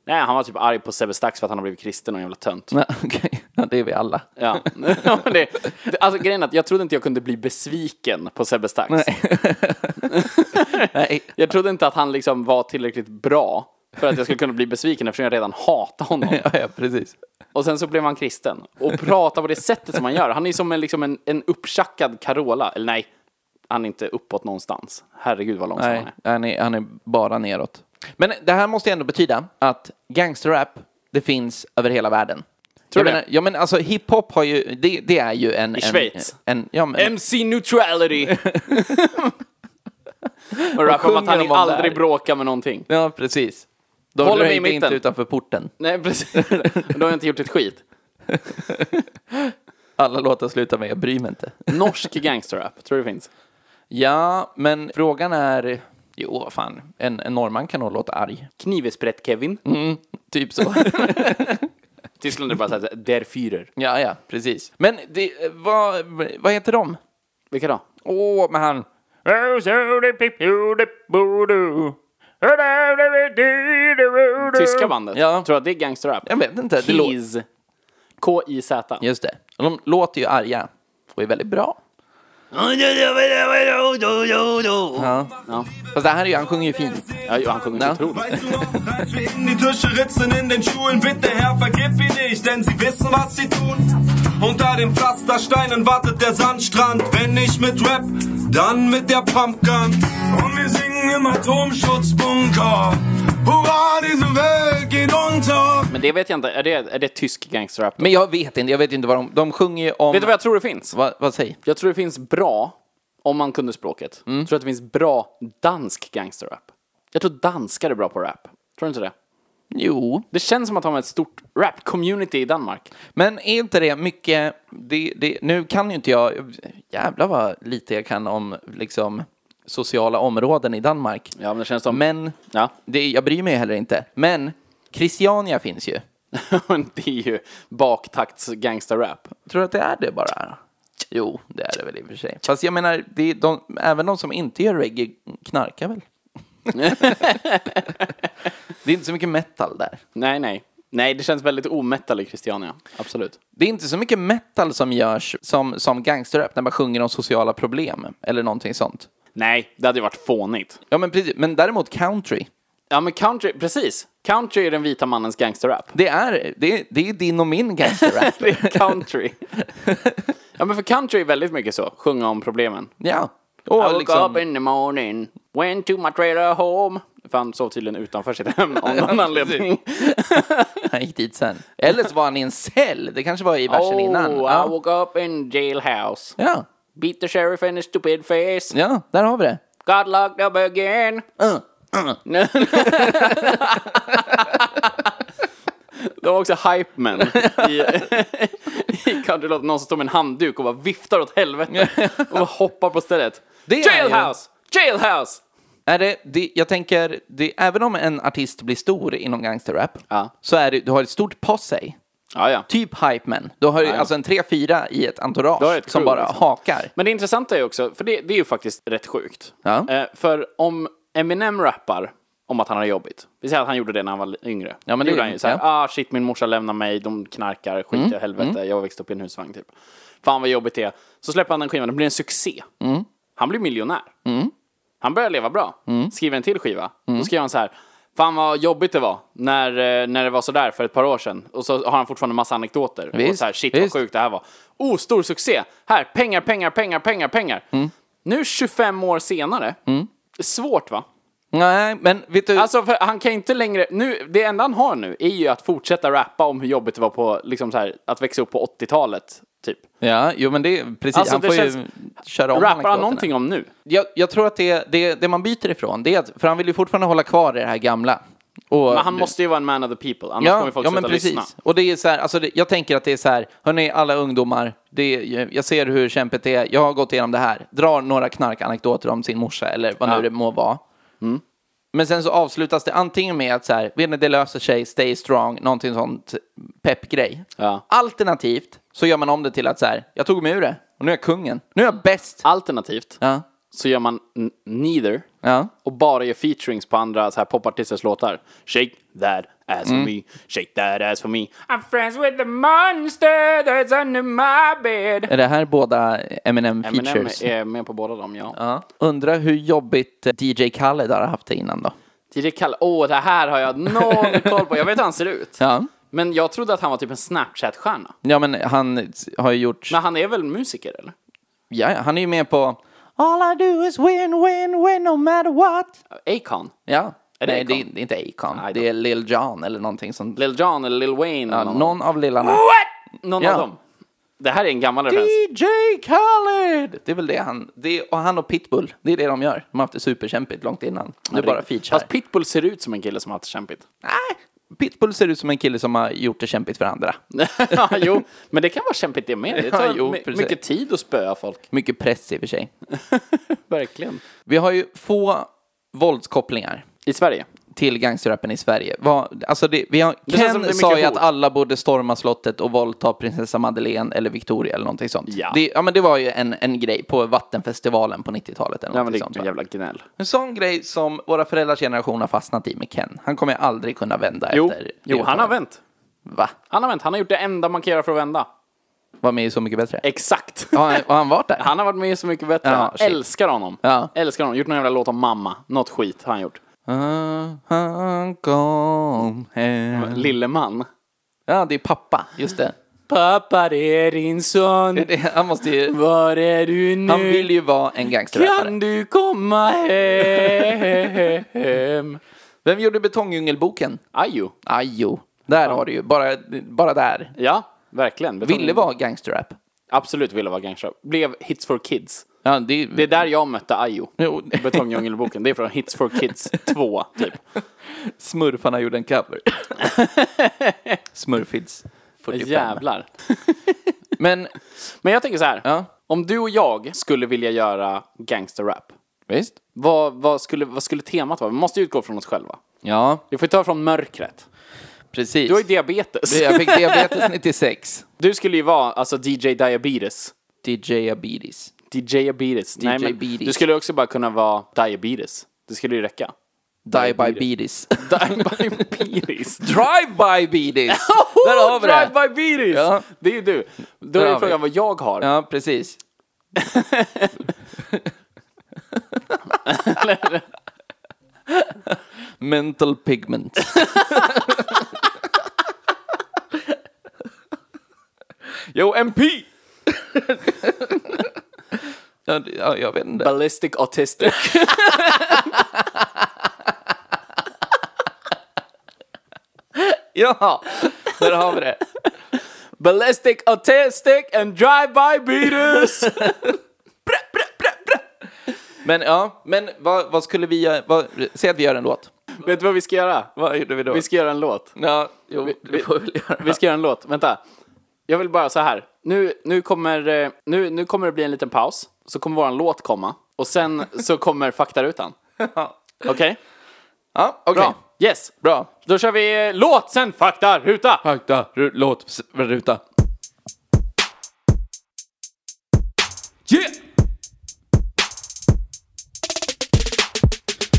S1: Nej, han var typ arg på Sebbe Stax för att han har blivit kristen och en jävla tönt.
S2: Ja, okej. ja, det är vi alla.
S1: Ja. Ja, men det, det, alltså grejen är att jag trodde inte jag kunde bli besviken på Sebbe Stax.
S2: Nej.
S1: Jag trodde inte att han liksom var tillräckligt bra för att jag skulle kunna bli besviken eftersom jag redan hatar honom.
S2: Ja, ja, precis.
S1: Och sen så blev han kristen. Och pratar på det sättet som han gör. Han är ju som en, liksom en, en upptjackad Carola. Eller nej, han är inte uppåt någonstans. Herregud vad långsam han
S2: Nej,
S1: är.
S2: han är, han är bara neråt. Men det här måste ju ändå betyda att gangsterrap, det finns över hela världen. jag
S1: Tror du
S2: menar, ja men alltså hiphop har ju, det, det är ju en... I en,
S1: Schweiz.
S2: En, ja, men,
S1: MC neutrality! och rappar om att
S2: sjunger
S1: han
S2: de om
S1: aldrig
S2: där?
S1: bråkar med någonting.
S2: ja, precis. De
S1: Håller mig i
S2: röjde inte
S1: mitten.
S2: utanför porten.
S1: Nej, precis. Då har jag inte gjort ett skit.
S2: Alla låtar slutar med jag bryr mig inte.
S1: Norsk gangsterrap, tror du det finns?
S2: Ja, men frågan är... Jo, vad fan. En, en norrman kan nog låta arg.
S1: Knivesprätt-Kevin.
S2: Typ så.
S1: Tyskland är bara såhär, der Führer.
S2: ja, ja, precis. Men det, eh, vad, vad heter de?
S1: Vilka då?
S2: Åh, men han...
S1: Tyska bandet?
S2: Ja.
S1: Tror du att det är gangsterrap?
S2: Jag vet inte. Det lå-
S1: Keys. K-I-Z.
S2: Just det. Och de låter ju arga. Och är väldigt bra. Ja.
S1: Ja.
S2: Fast det här är ju, han sjunger ju fint.
S1: Ja, han sjunger
S2: Ja.
S1: otroligt.
S4: Weißt du noch, als wir in die Tische ritzen in den Schulen, bitte Herr, vergib mir nicht, denn sie wissen, was sie tun. Unter den Pflastersteinen wartet der Sandstrand, wenn nicht mit Rap, dann mit der Pumpgun. Und wir singen im Atomschutzbunker, hurra, diese Welt geht unter.
S1: Men det vet jag inte. Är det, är det tysk gangsterrap?
S2: Men jag vet inte, jag vet inte vad de... De sjunger ju om...
S1: Vet du vad jag tror det finns?
S2: vad, vad säger?
S1: Jag tror det finns bra, om man kunde språket,
S2: Mm.
S1: jag tror att det finns bra dansk gangsterrap. Jag tror danskar är bra på rap. Tror du inte det?
S2: Jo.
S1: Det känns som att de har ett stort rap-community i Danmark.
S2: Men är inte det mycket... Det, det, nu kan ju inte jag... Jävlar vad lite jag kan om liksom, sociala områden i Danmark.
S1: Ja, men det känns som...
S2: Men
S1: Ja,
S2: det, jag bryr mig heller inte. Men Christiania finns ju.
S1: men det är ju baktakts gangsterrap.
S2: Tror du att det är det bara? Jo, det är det väl i och för sig. Fast jag menar, det är de, även de som inte gör reggae knarkar väl? det är inte så mycket metal där.
S1: Nej, nej. Nej, det känns väldigt ometal i Christiania. Absolut.
S2: Det är inte så mycket metal som görs som, som gangsterrap när man sjunger om sociala problem eller någonting sånt.
S1: Nej, det hade ju varit fånigt.
S2: Ja, men precis. Men däremot country.
S1: Ja, men country, precis. Country är den vita mannens gangsterrap.
S2: Det är, det, är- det är din och min gangsterrap.
S1: Det är country. ja, men för country är väldigt mycket så. Sjunga om problemen.
S2: ja. Och
S1: I woke up
S2: liksom,
S1: in the morning, went to my trailer home. För han sov tydligen utanför sitt hem av någon anledning.
S2: han gick dit sen. Eller så var han i en cell. Det kanske var i versen innan.
S1: Oh, I
S2: Ja.
S1: woke up in jailhouse.
S2: ja,
S1: Beat the sheriff in his stupid face.
S2: ja, där har vi det.
S1: Got locked up again.
S2: Uh,
S1: De var också hype men i, i countrylåten. Någon som står med en handduk och bara viftar åt helvete och bara hoppar på stället.
S2: Det är ju-
S1: jailhouse! Jailhouse!
S2: Är det, det, jag tänker, det, även om en artist blir stor inom gangsterrap
S1: Ja.
S2: så är det, du har ett stort posse,
S1: Ah, Ja, ja.
S2: typ hype man. Du har ju alltså en 3-4 i ett entourage
S1: Du har ett
S2: som
S1: crew,
S2: bara
S1: liksom.
S2: hakar.
S1: Men det intressanta är ju också, för det, det är ju faktiskt rätt sjukt.
S2: Ja.
S1: Eh, för om Eminem rappar om att han har jobbigt, vi säger att han gjorde det när han var yngre.
S2: Ja, men det-
S1: gjorde han ju såhär,
S2: ja. Mm.
S1: ah shit min morsa lämnar mig, de knarkar, skit i helvete, jag växte upp i en husvagn typ. Fan vad jobbigt det är. Så släpper han den skivan, den blir en succé.
S2: Mm.
S1: Han blir miljonär. Han börjar leva bra.
S2: Mm.
S1: Skriver en till skiva. Då skriver han så här. Fan vad jobbigt det var när, eh, när det var sådär för ett par år sedan. Och så har han fortfarande en massa anekdoter. och
S2: Visst,
S1: så här, shit
S2: visst.
S1: vad sjukt det här var. Oh, stor succé! Här, pengar, pengar, pengar, pengar, pengar.
S2: Mm.
S1: Nu 25 år senare. Svårt va?
S2: Nej, men vet du,
S1: Alltså för han kan ju inte längre, nu, det enda han har nu är ju att fortsätta rappa om hur jobbigt det var på, liksom så här, att växa upp på 80-talet. Typ.
S2: ja, jo men det är precis,
S1: Alltså,
S2: han
S1: det
S2: får ju
S1: känns-
S2: köra om
S1: Rappar han
S2: anekdoterna.
S1: någonting om nu?
S2: Jag, jag tror att det, det, det man byter ifrån, det är att, för han vill ju fortfarande hålla kvar i det här gamla. Och,
S1: Men han måste ju vara en man of the people, annars kommer
S2: Ja,
S1: folk
S2: ja
S1: sluta
S2: men precis.
S1: lyssna.
S2: Och det är så här, alltså det, jag tänker att det är så här, hörni alla ungdomar, det är, jag ser hur kämpigt det är, jag har gått igenom det här, drar några knarkanekdoter om sin morsa eller vad nu det må vara.
S1: Mm.
S2: Men sen så avslutas det antingen med att så här, vet ni, det löser sig, stay strong, någonting sånt peppgrej.
S1: Ja.
S2: Alternativt så gör man om det till att så här, jag tog mig ur det och nu är jag kungen, nu är jag bäst.
S1: Alternativt
S2: Ja,
S1: så gör man n- neither
S2: ja.
S1: och bara gör featurings på andra så här popartisters låtar. Shake that ass
S2: Mm.
S1: for me, shake that ass for me. I'm friends with the monster that's under my bed.
S2: Är det här båda Eminem
S1: Eminem
S2: features?
S1: är med på båda dem, ja.
S2: Ja. Undrar hur jobbigt DJ Khaled har haft det innan då?
S1: DJ Kalle, åh det här har jag noll koll på. Jag vet hur han ser ut.
S2: Ja.
S1: Men jag trodde att han var typ en Snapchat-stjärna.
S2: Ja, men han har ju gjort...
S1: Men han är väl musiker eller?
S2: Ja, ja, han är ju med på... All I do is win, win, win no matter what.
S1: Akon?
S2: Ja.
S1: Är det
S2: Nej, det, är,
S1: Akon?
S2: det är inte Akon.
S1: Nej,
S2: Det är Lil Jon eller någonting sånt.
S1: Lil Jon eller Lil Wayne?
S2: Ja,
S1: eller någon
S2: någon av lillarna.
S1: What? någon
S2: Ja.
S1: av dem? Det här är en gammal referens.
S2: DJ Khaled! Det är väl det han, det, och han och Pitbull, det är det de gör. De har haft det superkämpigt långt innan. Nu är bara feature.
S1: Fast Pitbull ser ut som en kille som har haft det kämpigt.
S2: Nej, Pitbull ser ut som en kille som har gjort det kämpigt för andra.
S1: ja, jo, men det kan vara kämpigt det med. Det tar
S2: Ja, jo,
S1: my-
S2: precis.
S1: mycket tid att spöa folk.
S2: Mycket press i och för sig.
S1: Verkligen.
S2: Vi har ju få våldskopplingar
S1: I Sverige.
S2: till gangsterrappen i Sverige. Vad- alltså det, vi har,
S1: känns som
S2: Ken
S1: det är mycket
S2: sa ju
S1: hot.
S2: att alla borde storma slottet och våldta prinsessa Madeleine eller Victoria eller någonting sånt.
S1: Ja.
S2: Det, ja men det var ju en, en grej på Vattenfestivalen på 90-talet eller
S1: Ja, men
S2: någonting
S1: det
S2: sånt.
S1: är
S2: va?
S1: jävla gnäll.
S2: En sån grej som våra föräldrars generation har fastnat i med Ken. Han kommer ju aldrig kunna vända
S1: Jo,
S2: efter det
S1: jo han har
S2: uttalandet.
S1: vänt.
S2: Va?
S1: Han har vänt. Han har gjort det enda man kan göra för att vända.
S2: Var med i Så Mycket Bättre?
S1: Exakt.
S2: Har han, har han varit där?
S1: Han har varit med Så Mycket Bättre.
S2: Ja,
S1: han
S2: shit.
S1: älskar honom.
S2: Ja.
S1: Älskar honom. Gjort någon jävla låt om mamma. Något skit har han gjort.
S2: Ah, han kom
S1: Mm.
S2: hem.
S1: Lilleman.
S2: Ja, det är pappa. Just det.
S1: Pappa, det är din son.
S2: Det- Han, måste ju,
S1: Var är du nu?
S2: han vill ju vara en gangsterrappare.
S1: Kan du komma hem?
S2: Vem gjorde Betongjungelboken?
S1: Ajo.
S2: Ajo. Ah, Där har du ju. Bara, bara där.
S1: Ja, verkligen. Betong-
S2: Ville vara gangsterrap.
S1: Absolut ville vara gangster. Blev Hits for Kids.
S2: Ja, det,
S1: Det är där jag mötte Ajo.
S2: Jo.
S1: Betongdjungelboken. Det är från Hits for Kids 2, typ.
S2: Smurfarna gjorde en cover. Smurfits 45.
S1: Jävlar.
S2: Men,
S1: Men jag tänker så här.
S2: Ja.
S1: Om du och jag skulle vilja göra gangsterrap,
S2: visst.
S1: vad, vad, skulle, vad skulle temat vara? Vi måste ju utgå från oss själva.
S2: Ja,
S1: Vi får ta från mörkret.
S2: precis.
S1: Du har ju diabetes.
S2: Jag fick diabetes 96.
S1: Du skulle ju vara alltså DJ Diabetes.
S2: DJ Abedes.
S1: DJ Diabetes. Nej, men
S2: Diabetes.
S1: Du typ- skulle också bara kunna vara Diabetes. Det skulle ju räcka.
S2: Die by Beaties.
S1: Diabetes.
S2: Drive by Beaties! Där har vi
S1: Oh, Drive
S2: det!
S1: by Beatis!
S2: Ja.
S1: Det är ju du. Då
S2: har
S1: är
S2: vi.
S1: frågan vad jag har.
S2: Ja, precis. Mental pigment. Yo, MP! ja, det- ja, jag vet inte.
S1: Ballistic autistic.
S2: Ja, där har vi det.
S1: Ballistic autistic and drive-by beaters!
S2: Men ja, men vad, vad skulle vi göra? Vad, säg att vi gör en låt.
S1: Vet du vad vi ska göra?
S2: Vad gjorde vi då?
S1: Vi ska göra en låt.
S2: Ja, jo, det
S1: vi-
S2: får vi väl göra.
S1: Vi ska göra en låt. Vänta. Jag vill bara så här. Nu, nu, kommer, eh, nu, nu kommer det bli en liten paus. Så kommer våran låt komma. Och sen så kommer faktarutan. Okej?
S2: Ja, okej.
S1: Bra. Yes.
S2: Bra.
S1: Då kör vi eh, låt, sen faktaruta!
S2: Fakta, ru, låt, s- ruta. Yeah!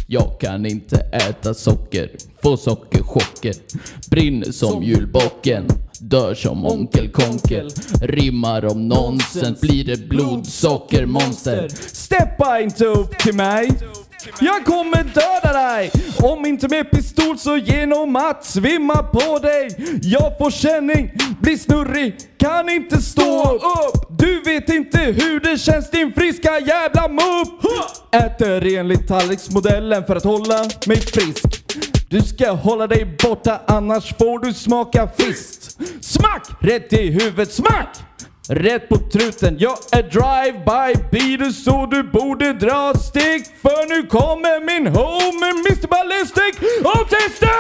S5: Jag kan inte äta socker, får sockerchocker Brinner som julbocken, dör som onkel Konkel Rimmar om nonsens, blir det blodsockermonster
S6: Steppa inte upp till mig. Jag kommer döda dig! Om inte med pistol så genom att svimma på dig. Jag får känning, blir snurrig, kan inte stå upp. Du vet inte hur det känns din friska jävla mupp. Äter enligt tallriksmodellen för att hålla mig frisk. Du ska hålla dig borta annars får du smaka fist. Smack! Rätt i huvudet, smack! Rätt på truten, jag är drive-by Beatles så du borde dra stick För nu kommer min homie Mr Ballistic Autistic!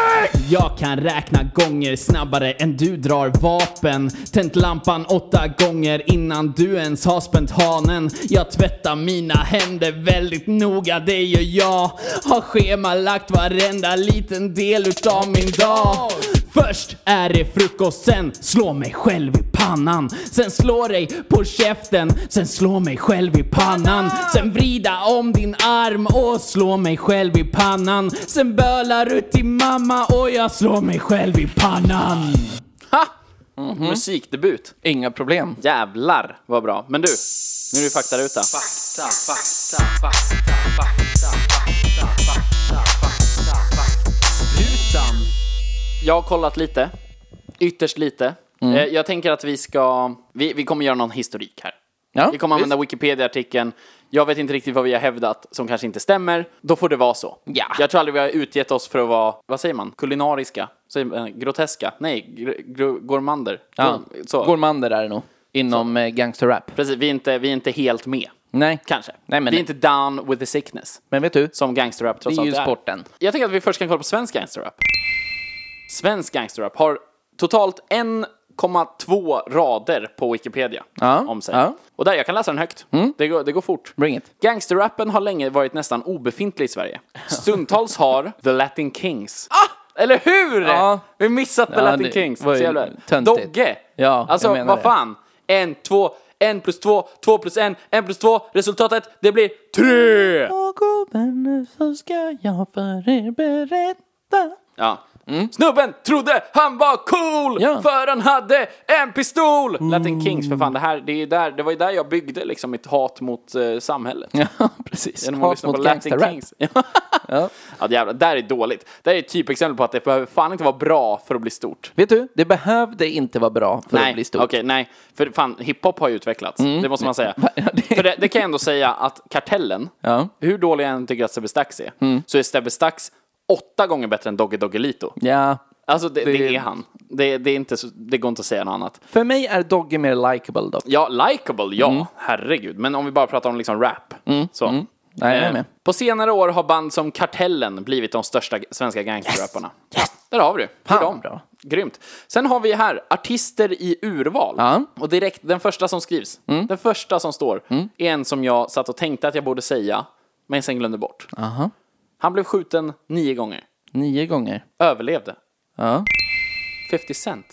S5: Jag kan räkna gånger snabbare än du drar vapen Tänt lampan åtta gånger innan du ens har spänt hanen Jag tvättar mina händer väldigt noga, det gör jag Har schemalagt varenda liten del utav min dag Först är det frukost, sen slå mig själv i pannan Sen slå dig på käften, sen slå mig själv i pannan Sen vrida om din arm och slå mig själv i pannan Sen bölar du till mamma och jag slår mig själv i pannan
S1: Ha! Mm. Musikdebut.
S2: Inga problem.
S1: Jävlar vad bra. Men du, nu är det faktaruta. Jag har kollat lite. Ytterst lite.
S2: Mm.
S1: Eh, Jag tänker att vi ska... Vi, vi kommer göra någon historik här.
S2: Ja,
S1: vi kommer använda Wikipedia-artikeln. Jag vet inte riktigt vad vi har hävdat som kanske inte stämmer. Då får det vara så.
S2: Ja.
S1: Jag tror aldrig vi har utgett oss för att vara, vad säger man, kulinariska? Säger man, eh, groteska? Nej, gr- gr- gourmander.
S2: Ja.
S1: Så.
S2: Gormander är det nog. inom eh, gangsterrap.
S1: Precis, vi är inte, vi är inte helt med.
S2: Nej,
S1: Kanske.
S2: Mm. Nej, men-
S1: vi är inte down with the sickness.
S2: men vet du?
S1: Som gangsterrap trots
S2: Det är ju
S1: allt
S2: sporten.
S1: Jag tänker att vi först kan kolla på svensk gangsterrap. Svensk gangsterrap har totalt 1,2 rader på Wikipedia
S2: Ja,
S1: om sig.
S2: ja. Mm.
S1: Och där, jag kan läsa den högt. Det, går, det går fort.
S2: Bring it.
S1: Gangsterrappen har länge varit nästan obefintlig i Sverige. Stundtals har The Latin Kings. Ah! Eller hur?
S2: Ja.
S1: Vi har missat The
S2: Ja,
S1: Latin
S2: det
S1: Kings.
S2: var ju
S1: Så jävla-
S2: töntigt.
S1: Dogge!
S2: Ja, jag
S1: alltså,
S2: menar
S1: vad
S2: det.
S1: fan? En, två, en plus två, två plus en, en plus två. Resultatet, det blir tre!
S2: så ska jag för er berätta.
S1: Ja. Snubben trodde han var cool
S2: Mm. Ja. Mm.
S1: för han hade en pistol! Latin Kings, för fan, det, här, det, är ju där, det var ju där jag byggde liksom mitt hat mot eh, samhället.
S2: Ja, precis.
S1: Genom att lyssna på Latin Kings. Ja.
S2: Ja.
S1: ja, jävlar, där är dåligt. Där är ett typexempel på att det behöver fan inte vara bra för att bli stort.
S2: Vet du, det behövde inte vara bra för
S1: nej,
S2: att bli stort. Mm.
S1: okej, nej. För fan, hiphop har ju utvecklats. Det måste man säga.
S2: Ja, det-
S1: För det, det kan jag ändå säga att Kartellen,
S2: Ja. Mm.
S1: hur dålig jag än tycker att Sebbe Stax är, så är Sebbe Stax åtta gånger bättre än Dogge Doggelito.
S2: Ja.
S1: Alltså det, det...
S2: Det-
S1: är han. Det, det, är inte så, det går inte att säga något annat.
S2: För mig är Dogge mer likable dock.
S1: Ja, likable, ja.
S2: Mm.
S1: Herregud. Men om vi bara pratar om liksom rap. Så. Eh,
S2: Nej, jag är med.
S1: På senare år har band som Kartellen blivit de största g- svenska gangsterrapparna. Där har vi det. Det är
S2: Fan,
S1: dem.
S2: bra.
S1: Grymt. Sen har vi här artister i urval.
S2: Ja. Mm.
S1: Och direkt, den första som skrivs, den första som står, är en som jag satt och tänkte att jag borde säga, men sen glömde bort. Han blev skjuten nio gånger.
S2: Nio gånger.
S1: Överlevde.
S2: Ja.
S1: 50 Cent.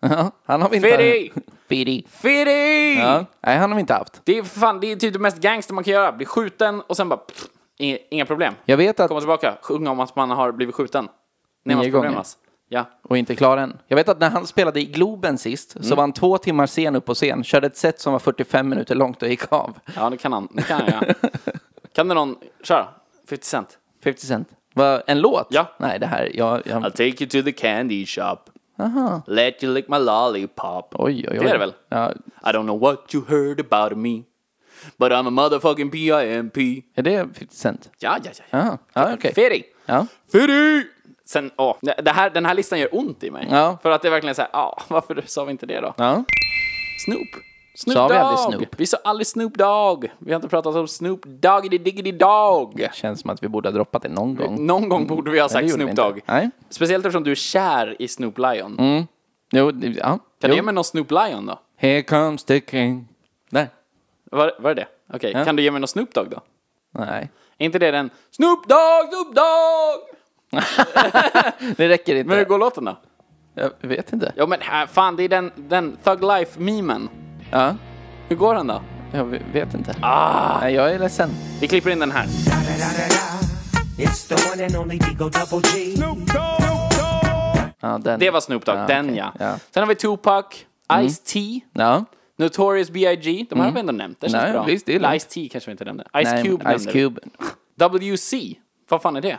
S2: Ja, han har vi inte...
S1: Fiddy!
S2: Fiddy.
S1: Fiddy!
S2: Ja. Nej, han har vi inte haft.
S1: Det är för fan, det är typ det mest gangster man kan göra. Bli skjuten och sen bara, pff, inga, inga problem.
S2: Jag vet att...
S1: Komma tillbaka, sjunga om att man har blivit skjuten.
S2: Nio
S1: Nej, man problem
S2: gånger.
S1: alltså. Ja.
S2: och inte klar än. Jag vet att när han spelade i Globen sist
S1: Mm.
S2: så var han två timmar sen upp på scen, körde ett set som var 45 minuter långt och gick av.
S1: ja, det kan han. Det kan han göra. kan det någon köra? 50 Cent.
S2: 50 Cent. Var en låt?
S1: Ja.
S2: Nej, det här, jag... jag...
S1: I'll take you to the candy shop. Let you lick my lollipop.
S2: Oj, oj, oj.
S1: Det är det väl?
S2: Ja.
S1: I don't know what you heard about me. But I'm a motherfucking P.I.M.P.
S2: Är det 50 Cent?
S1: Ja, ja, ja.
S2: Ja, ja okej.
S1: Fitty.
S2: Ja.
S1: Fitty! Sen, åh, det här, den här listan gör ont i mig.
S2: Ja.
S1: För att det är verkligen så här, ja, varför sa vi inte det då?
S2: ja.
S1: Snoop. Snoop
S2: Sa vi
S1: Dogg.
S2: aldrig Snoop?
S1: Vi sa aldrig Snoop Dogg. Vi har inte pratat om Snoop Doggity Diggity Dogg.
S2: Känns som att vi borde ha droppat det någon gång.
S1: Någon gång borde vi ha
S2: Mm. det
S1: sagt
S2: gjorde vi
S1: Snoop
S2: inte.
S1: Dogg.
S2: Nej.
S1: Speciellt eftersom du är kär i Snoop Lion.
S2: Jo, det- ja.
S1: Kan du
S2: jo.
S1: ge mig någon Snoop Lion då?
S2: Here comes the king. Nej.
S1: Var, var det det? Okej,
S2: Ja.
S1: kan du ge mig någon Snoop Dogg då?
S2: Nej.
S1: Är inte det den Snoop Dogg, Snoop Dogg?
S2: Det räcker inte.
S1: Men hur går låten då?
S2: Jag vet inte.
S1: Ja men här, fan, det är den, den Thug Life-memen.
S2: Ja.
S1: Hur går den då?
S2: Jag vet inte.
S1: Ah!
S2: Nej, jag är ledsen.
S1: Vi klipper in den här.
S7: It's the one and only Digo Double G.
S2: Ja, den.
S1: Det var Snoop Dogg,
S2: Ja,
S1: den
S2: Ah, okej.
S1: ja.
S2: Ja. Mm.
S1: Sen har vi Tupac, Ice-T,
S2: Ja.
S1: Notorious B.I.G. De här har vi ändå nämnt, det känns
S2: Nej,
S1: bra.
S2: visst, det är lugnt.
S1: Ice-T kanske vi inte nämnde. Ice
S2: Nej,
S1: Cube nämnde
S2: Ice
S1: vi.
S2: Cube.
S1: WC, vad fan är det?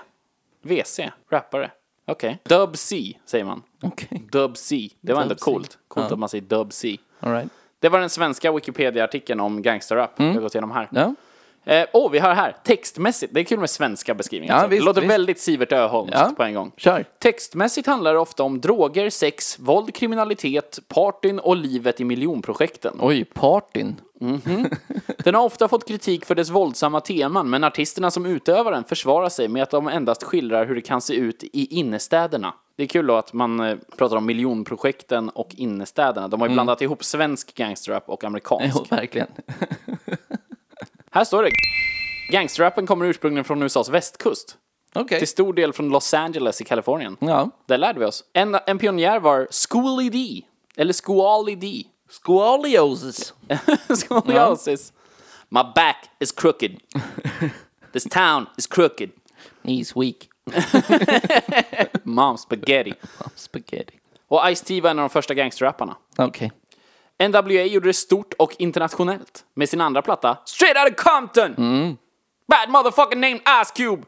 S1: WC, rappare. Okej. Dub C säger man.
S2: Okej.
S1: Dub C, det var ändå
S2: Dub C.
S1: coolt. Coolt att man säger Dub C.
S2: All right.
S1: Det var den svenska Wikipedia-artikeln om gangsterrap vi har gått igenom här.
S2: Mm. Ja.
S1: Eh, oh, vi har här, textmässigt, det är kul med svenska beskrivningar.
S2: Ja,
S1: alltså. det
S2: visst,
S1: låter
S2: visst.
S1: väldigt Sivert Öholmskt
S2: Ja.
S1: på en gång.
S2: Kör.
S1: Textmässigt handlar det ofta om droger, sex, våld, kriminalitet, partyn och livet i miljonprojekten.
S2: Oj, partyn.
S1: Den har ofta fått kritik för dess våldsamma teman, men artisterna som utövar den försvarar sig med att de endast skildrar hur det kan se ut i innerstäderna. Det är kul då att man eh, pratar om miljonprojekten och innerstäderna. De har ju
S2: Mm.
S1: blandat ihop svensk gangsterrap och amerikansk.
S2: Jo, verkligen.
S1: Här står det. Gangsterrappen kommer ursprungligen från USAs västkust.
S2: Okej.
S1: Till stor del från Los Angeles i Kalifornien.
S2: Ja.
S1: Där lärde vi oss. En, en pionjär var Schooly D. Eller Schoolly D.
S2: Squaliosis.
S1: Scoliosis. My back is crooked. This town is crooked.
S2: Knees weak.
S1: Mom spaghetti.
S2: Spaghetti.
S1: Och Ice-T var en av de första gangsterrapparna.
S2: Okej.
S1: NWA gjorde det stort och internationellt med sin andra platta Straight Outta Compton! Bad motherfucking name Ice Cube!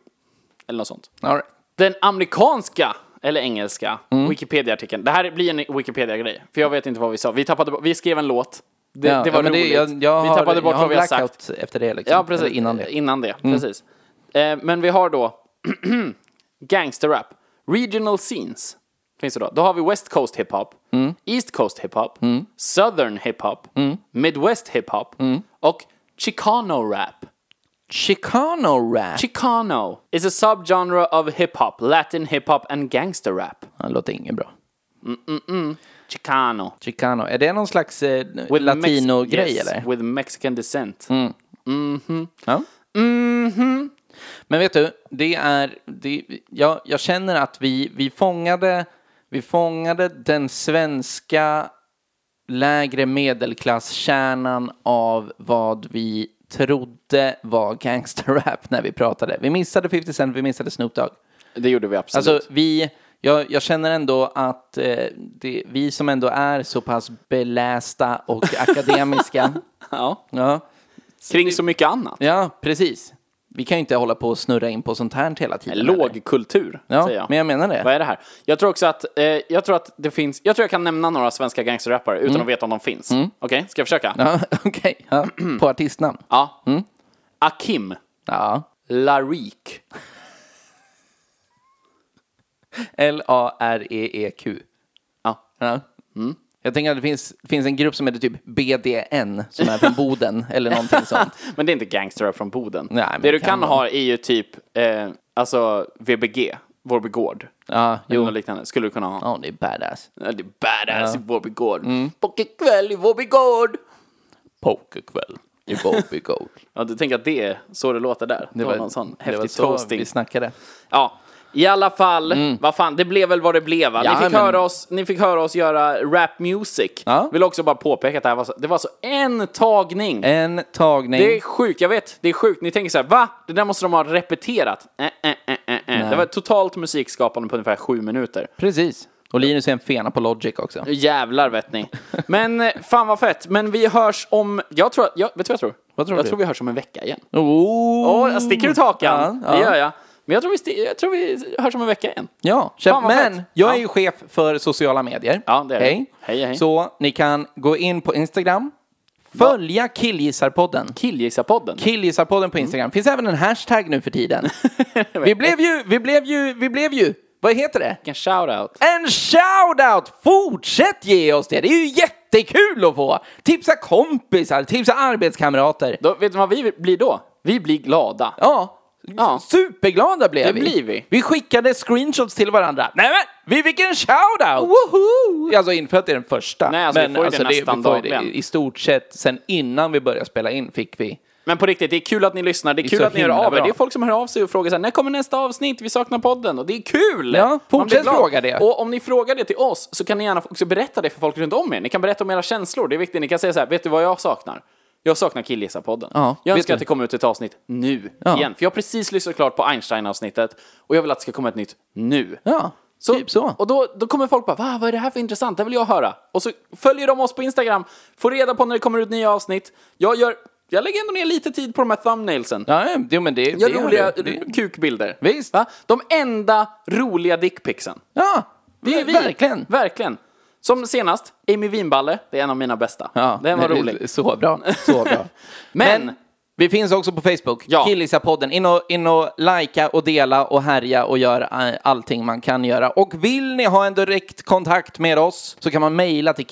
S1: Eller något sånt.
S2: All right.
S1: Den amerikanska, eller engelska,
S2: Mm.
S1: Wikipedia-artikeln. Det här blir en Wikipedia-grej, för jag vet inte vad vi sa. Vi, tappade, vi skrev en låt. Det,
S2: Ja,
S1: det var
S2: ja, men
S1: roligt.
S2: jag, jag
S1: vi
S2: har,
S1: tappade bort
S2: jag
S1: vad vi har sagt.
S2: blackout efter det. Liksom.
S1: Ja, precis.
S2: Eller Innan det. Mm.
S1: Innan det, precis. Eh, men vi har då gangsterrap, regional scenes, finns det då. Då har vi West Coast hiphop,
S2: Mm.
S1: East Coast hiphop, Southern hiphop, Midwest hiphop
S2: Mm.
S1: och Chicano rap.
S2: Chicano rap.
S1: Chicano is a subgenre of hip-hop, Latin hip-hop and gangster rap.
S2: det låter inget bra.
S1: Chicano.
S2: Chicano, är det någon slags eh,
S1: With
S2: latino-grej
S1: Mex- yes,
S2: eller? Mm.
S1: With Mexican descent.
S2: Ja. Men vet du, det är, det, jag, jag känner att vi, vi, fångade, vi fångade den svenska lägre medelklasskärnan av vad vi trodde var gangsterrap när vi pratade. Vi missade 50 Cent, vi missade Snoop Dogg.
S1: Det gjorde vi absolut.
S2: Alltså vi, jag, jag känner ändå att eh, det, vi som ändå är så pass belästa och akademiska.
S1: ja.
S2: ja,
S1: Kring så mycket annat.
S2: ja, precis. Vi kan ju inte hålla på och snurra in på sånt här hela tiden. eller?
S1: Lågkultur,
S2: Ja,
S1: säger jag.
S2: men jag menar det.
S1: Vad är det här? Jag tror också att, eh, jag tror att det finns, jag tror jag kan nämna några svenska gangsterrappare utan att veta om de finns. Okej, ska jag försöka?
S2: Mm. Ja, Okej, ja. på artistnamn.
S1: Ja. Akim,
S2: Ja.
S1: Larik,
S2: E L-A-R-E-E-Q.
S1: Ja. Mm.
S2: Jag tänker att det finns, finns en grupp som heter typ BDN, som är från Boden, eller någonting sånt.
S1: men det är inte gangsterrap från Boden.
S2: Nej, men
S1: det du
S2: kan
S1: kan
S2: de.
S1: ha är ju typ, eh, alltså VBG, Vårby Gård.
S2: Ja,
S1: Eller
S2: jo.
S1: något liknande, skulle du kunna ha.
S2: Ja, Mm. det är badass.
S1: Ja, Det är badass i Vårby Gård. Pokerkväll i Vårby Gård.
S2: Pokerkväll i Bobby Gold.
S1: Ja, du tänker att det är så det låter där? Det, var, någon sån
S2: det var
S1: häftig
S2: så
S1: toasting.
S2: vi snackade. Mm.
S1: Ja, i alla fall, vad fan, det blev väl vad det blev va?
S2: Ja,
S1: ni, fick
S2: men-
S1: höra oss, ni fick höra oss göra rap music.
S2: Ja.
S1: Vill också bara påpeka att det här var så, det var så en tagning.
S2: En tagning.
S1: Det är sjukt, jag vet, det är sjukt. Ni tänker så här, va? Det där måste de ha repeterat. Äh, äh, äh, äh, äh. Det var totalt musikskapande på ungefär sju minuter.
S2: Precis. Och Linus är en fena på Logic också.
S1: Jävlar vet ni. Men eh, fan vad fett, men vi hörs om, jag tror, jag, vet du vad jag tror?
S2: Vad tror
S1: jag
S2: du?
S1: tror vi hörs om en vecka igen.
S2: Oh.
S1: Åh, jag sticker ut hakan.
S2: Ja, ja.
S1: Det gör jag. Men jag tror, vi sti- jag tror vi hörs om en vecka igen.
S2: Ja,
S1: Fan, vad
S2: men
S1: fett.
S2: jag
S1: Ja.
S2: är ju chef för sociala medier.
S1: Ja, det är du.
S2: hej.
S1: Hej, hej.
S2: Så ni kan gå in på Instagram, följa Killgissarpodden.
S1: Killgissarpodden.
S2: Killgissarpodden
S1: Mm.
S2: på Instagram. Finns även en hashtag nu för tiden. vi blev ju, vi blev ju, vi blev ju, vad heter det?
S1: en shoutout.
S2: En shoutout! Fortsätt ge oss det! Det är ju jättekul att få! Tipsa kompisar, tipsa arbetskamrater.
S1: Då, vet du vad vi blir då? Vi blir glada.
S2: Ja,
S1: Ja.
S2: superglada blev
S1: Det
S2: vi.
S1: blir vi.
S2: Vi skickade screenshots till varandra. Nej men, vi fick en shoutout! Woho! Alltså inte för att det är den första.
S1: Nej, alltså, vi
S2: men
S1: får ju det
S2: vi
S1: nästan
S2: får ju det
S1: dagligen.
S2: I stort sett, sen innan vi började spela in fick vi.
S1: Men på riktigt, det är kul att ni lyssnar. Det är,
S2: är
S1: kul
S2: så
S1: att ni hör
S2: himla
S1: av er.
S2: bra.
S1: Det är folk som hör av sig och frågar så här, när kommer nästa avsnitt? Vi saknar podden. Och det är kul!
S2: Ja,
S1: Man
S2: fortsätt
S1: blir glad.
S2: fråga det.
S1: Och om ni frågar det till oss så kan ni gärna också berätta det för folk runt om er. Ni kan berätta om era känslor. Det är viktigt. Ni kan säga så här, vet du vad jag saknar? Jag saknar Killgissa-podden.
S2: Ja,
S1: jag
S2: vet
S1: önskar
S2: du.
S1: att det kommer ut ett avsnitt nu
S2: Ja.
S1: igen. För jag har precis lyssnat klart på Einstein-avsnittet och jag vill att det ska komma ett nytt nu.
S2: Ja, typ så.
S1: Och då, då kommer folk bara Va, vad är det här för intressant? Det vill jag höra. Och så följer de oss på Instagram, får reda på när det kommer ut nya avsnitt. Jag, gör, jag lägger ändå ner lite tid på de här thumbnailsen.
S2: Ja, jo, men det, det
S1: jag
S2: gör
S1: gör roliga
S2: du. Det-
S1: kukbilder.
S2: Visst.
S1: Va? De enda roliga dickpicsen.
S2: Ja,
S1: Det är vi.
S2: Verkligen.
S1: Verkligen. Som senast, Amy Winballe. Det är en av mina bästa.
S2: Ja,
S1: Den var
S2: nej,
S1: rolig.
S2: Så bra, så bra.
S1: Men-
S2: vi finns också på Facebook,
S1: Ja.
S2: Killisa-podden. In och, in och likea och dela och härja och gör eh, allting man kan göra. Och vill ni ha en direkt kontakt med oss så kan man mejla till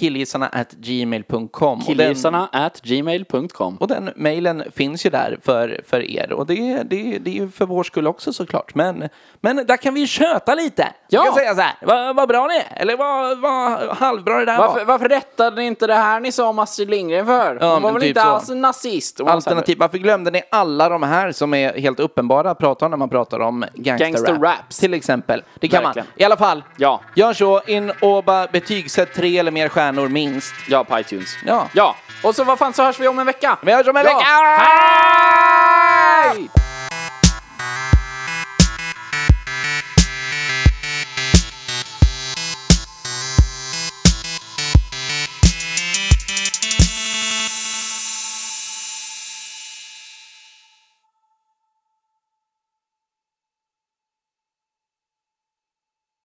S2: killgissarna@gmail.com. Och den-
S1: Killgissarna at gmail.com.
S2: Och den mejlen finns ju där för, för er. Och det, det, det är ju för vår skull också såklart. Men, men där kan vi ju köta lite. Ja.
S1: Ja.
S2: Vi kan säga så här, vad vad bra ni är. Eller vad, vad halvbra det där var.
S1: Varför, varför rättade ni inte det här ni sa om Astrid Lindgren för? Hon var
S2: men
S1: väl
S2: typ
S1: inte
S2: så.
S1: alls en nazist? Hon var så här-
S2: Alternativ, varför glömde ni alla de här som är helt uppenbara att prata om när man pratar om gangsterrap?
S1: Gangsterraps.
S2: Till exempel. Det kan
S1: Verkligen.
S2: man. I alla fall,
S1: Ja.
S2: gör så. In och bara betygsätt tre eller mer stjärnor minst.
S1: Ja, på iTunes.
S2: Ja.
S1: Ja. Och så vad fan så hörs vi om en vecka.
S2: Vi hörs om en
S1: Ja.
S2: vecka!
S1: Hej!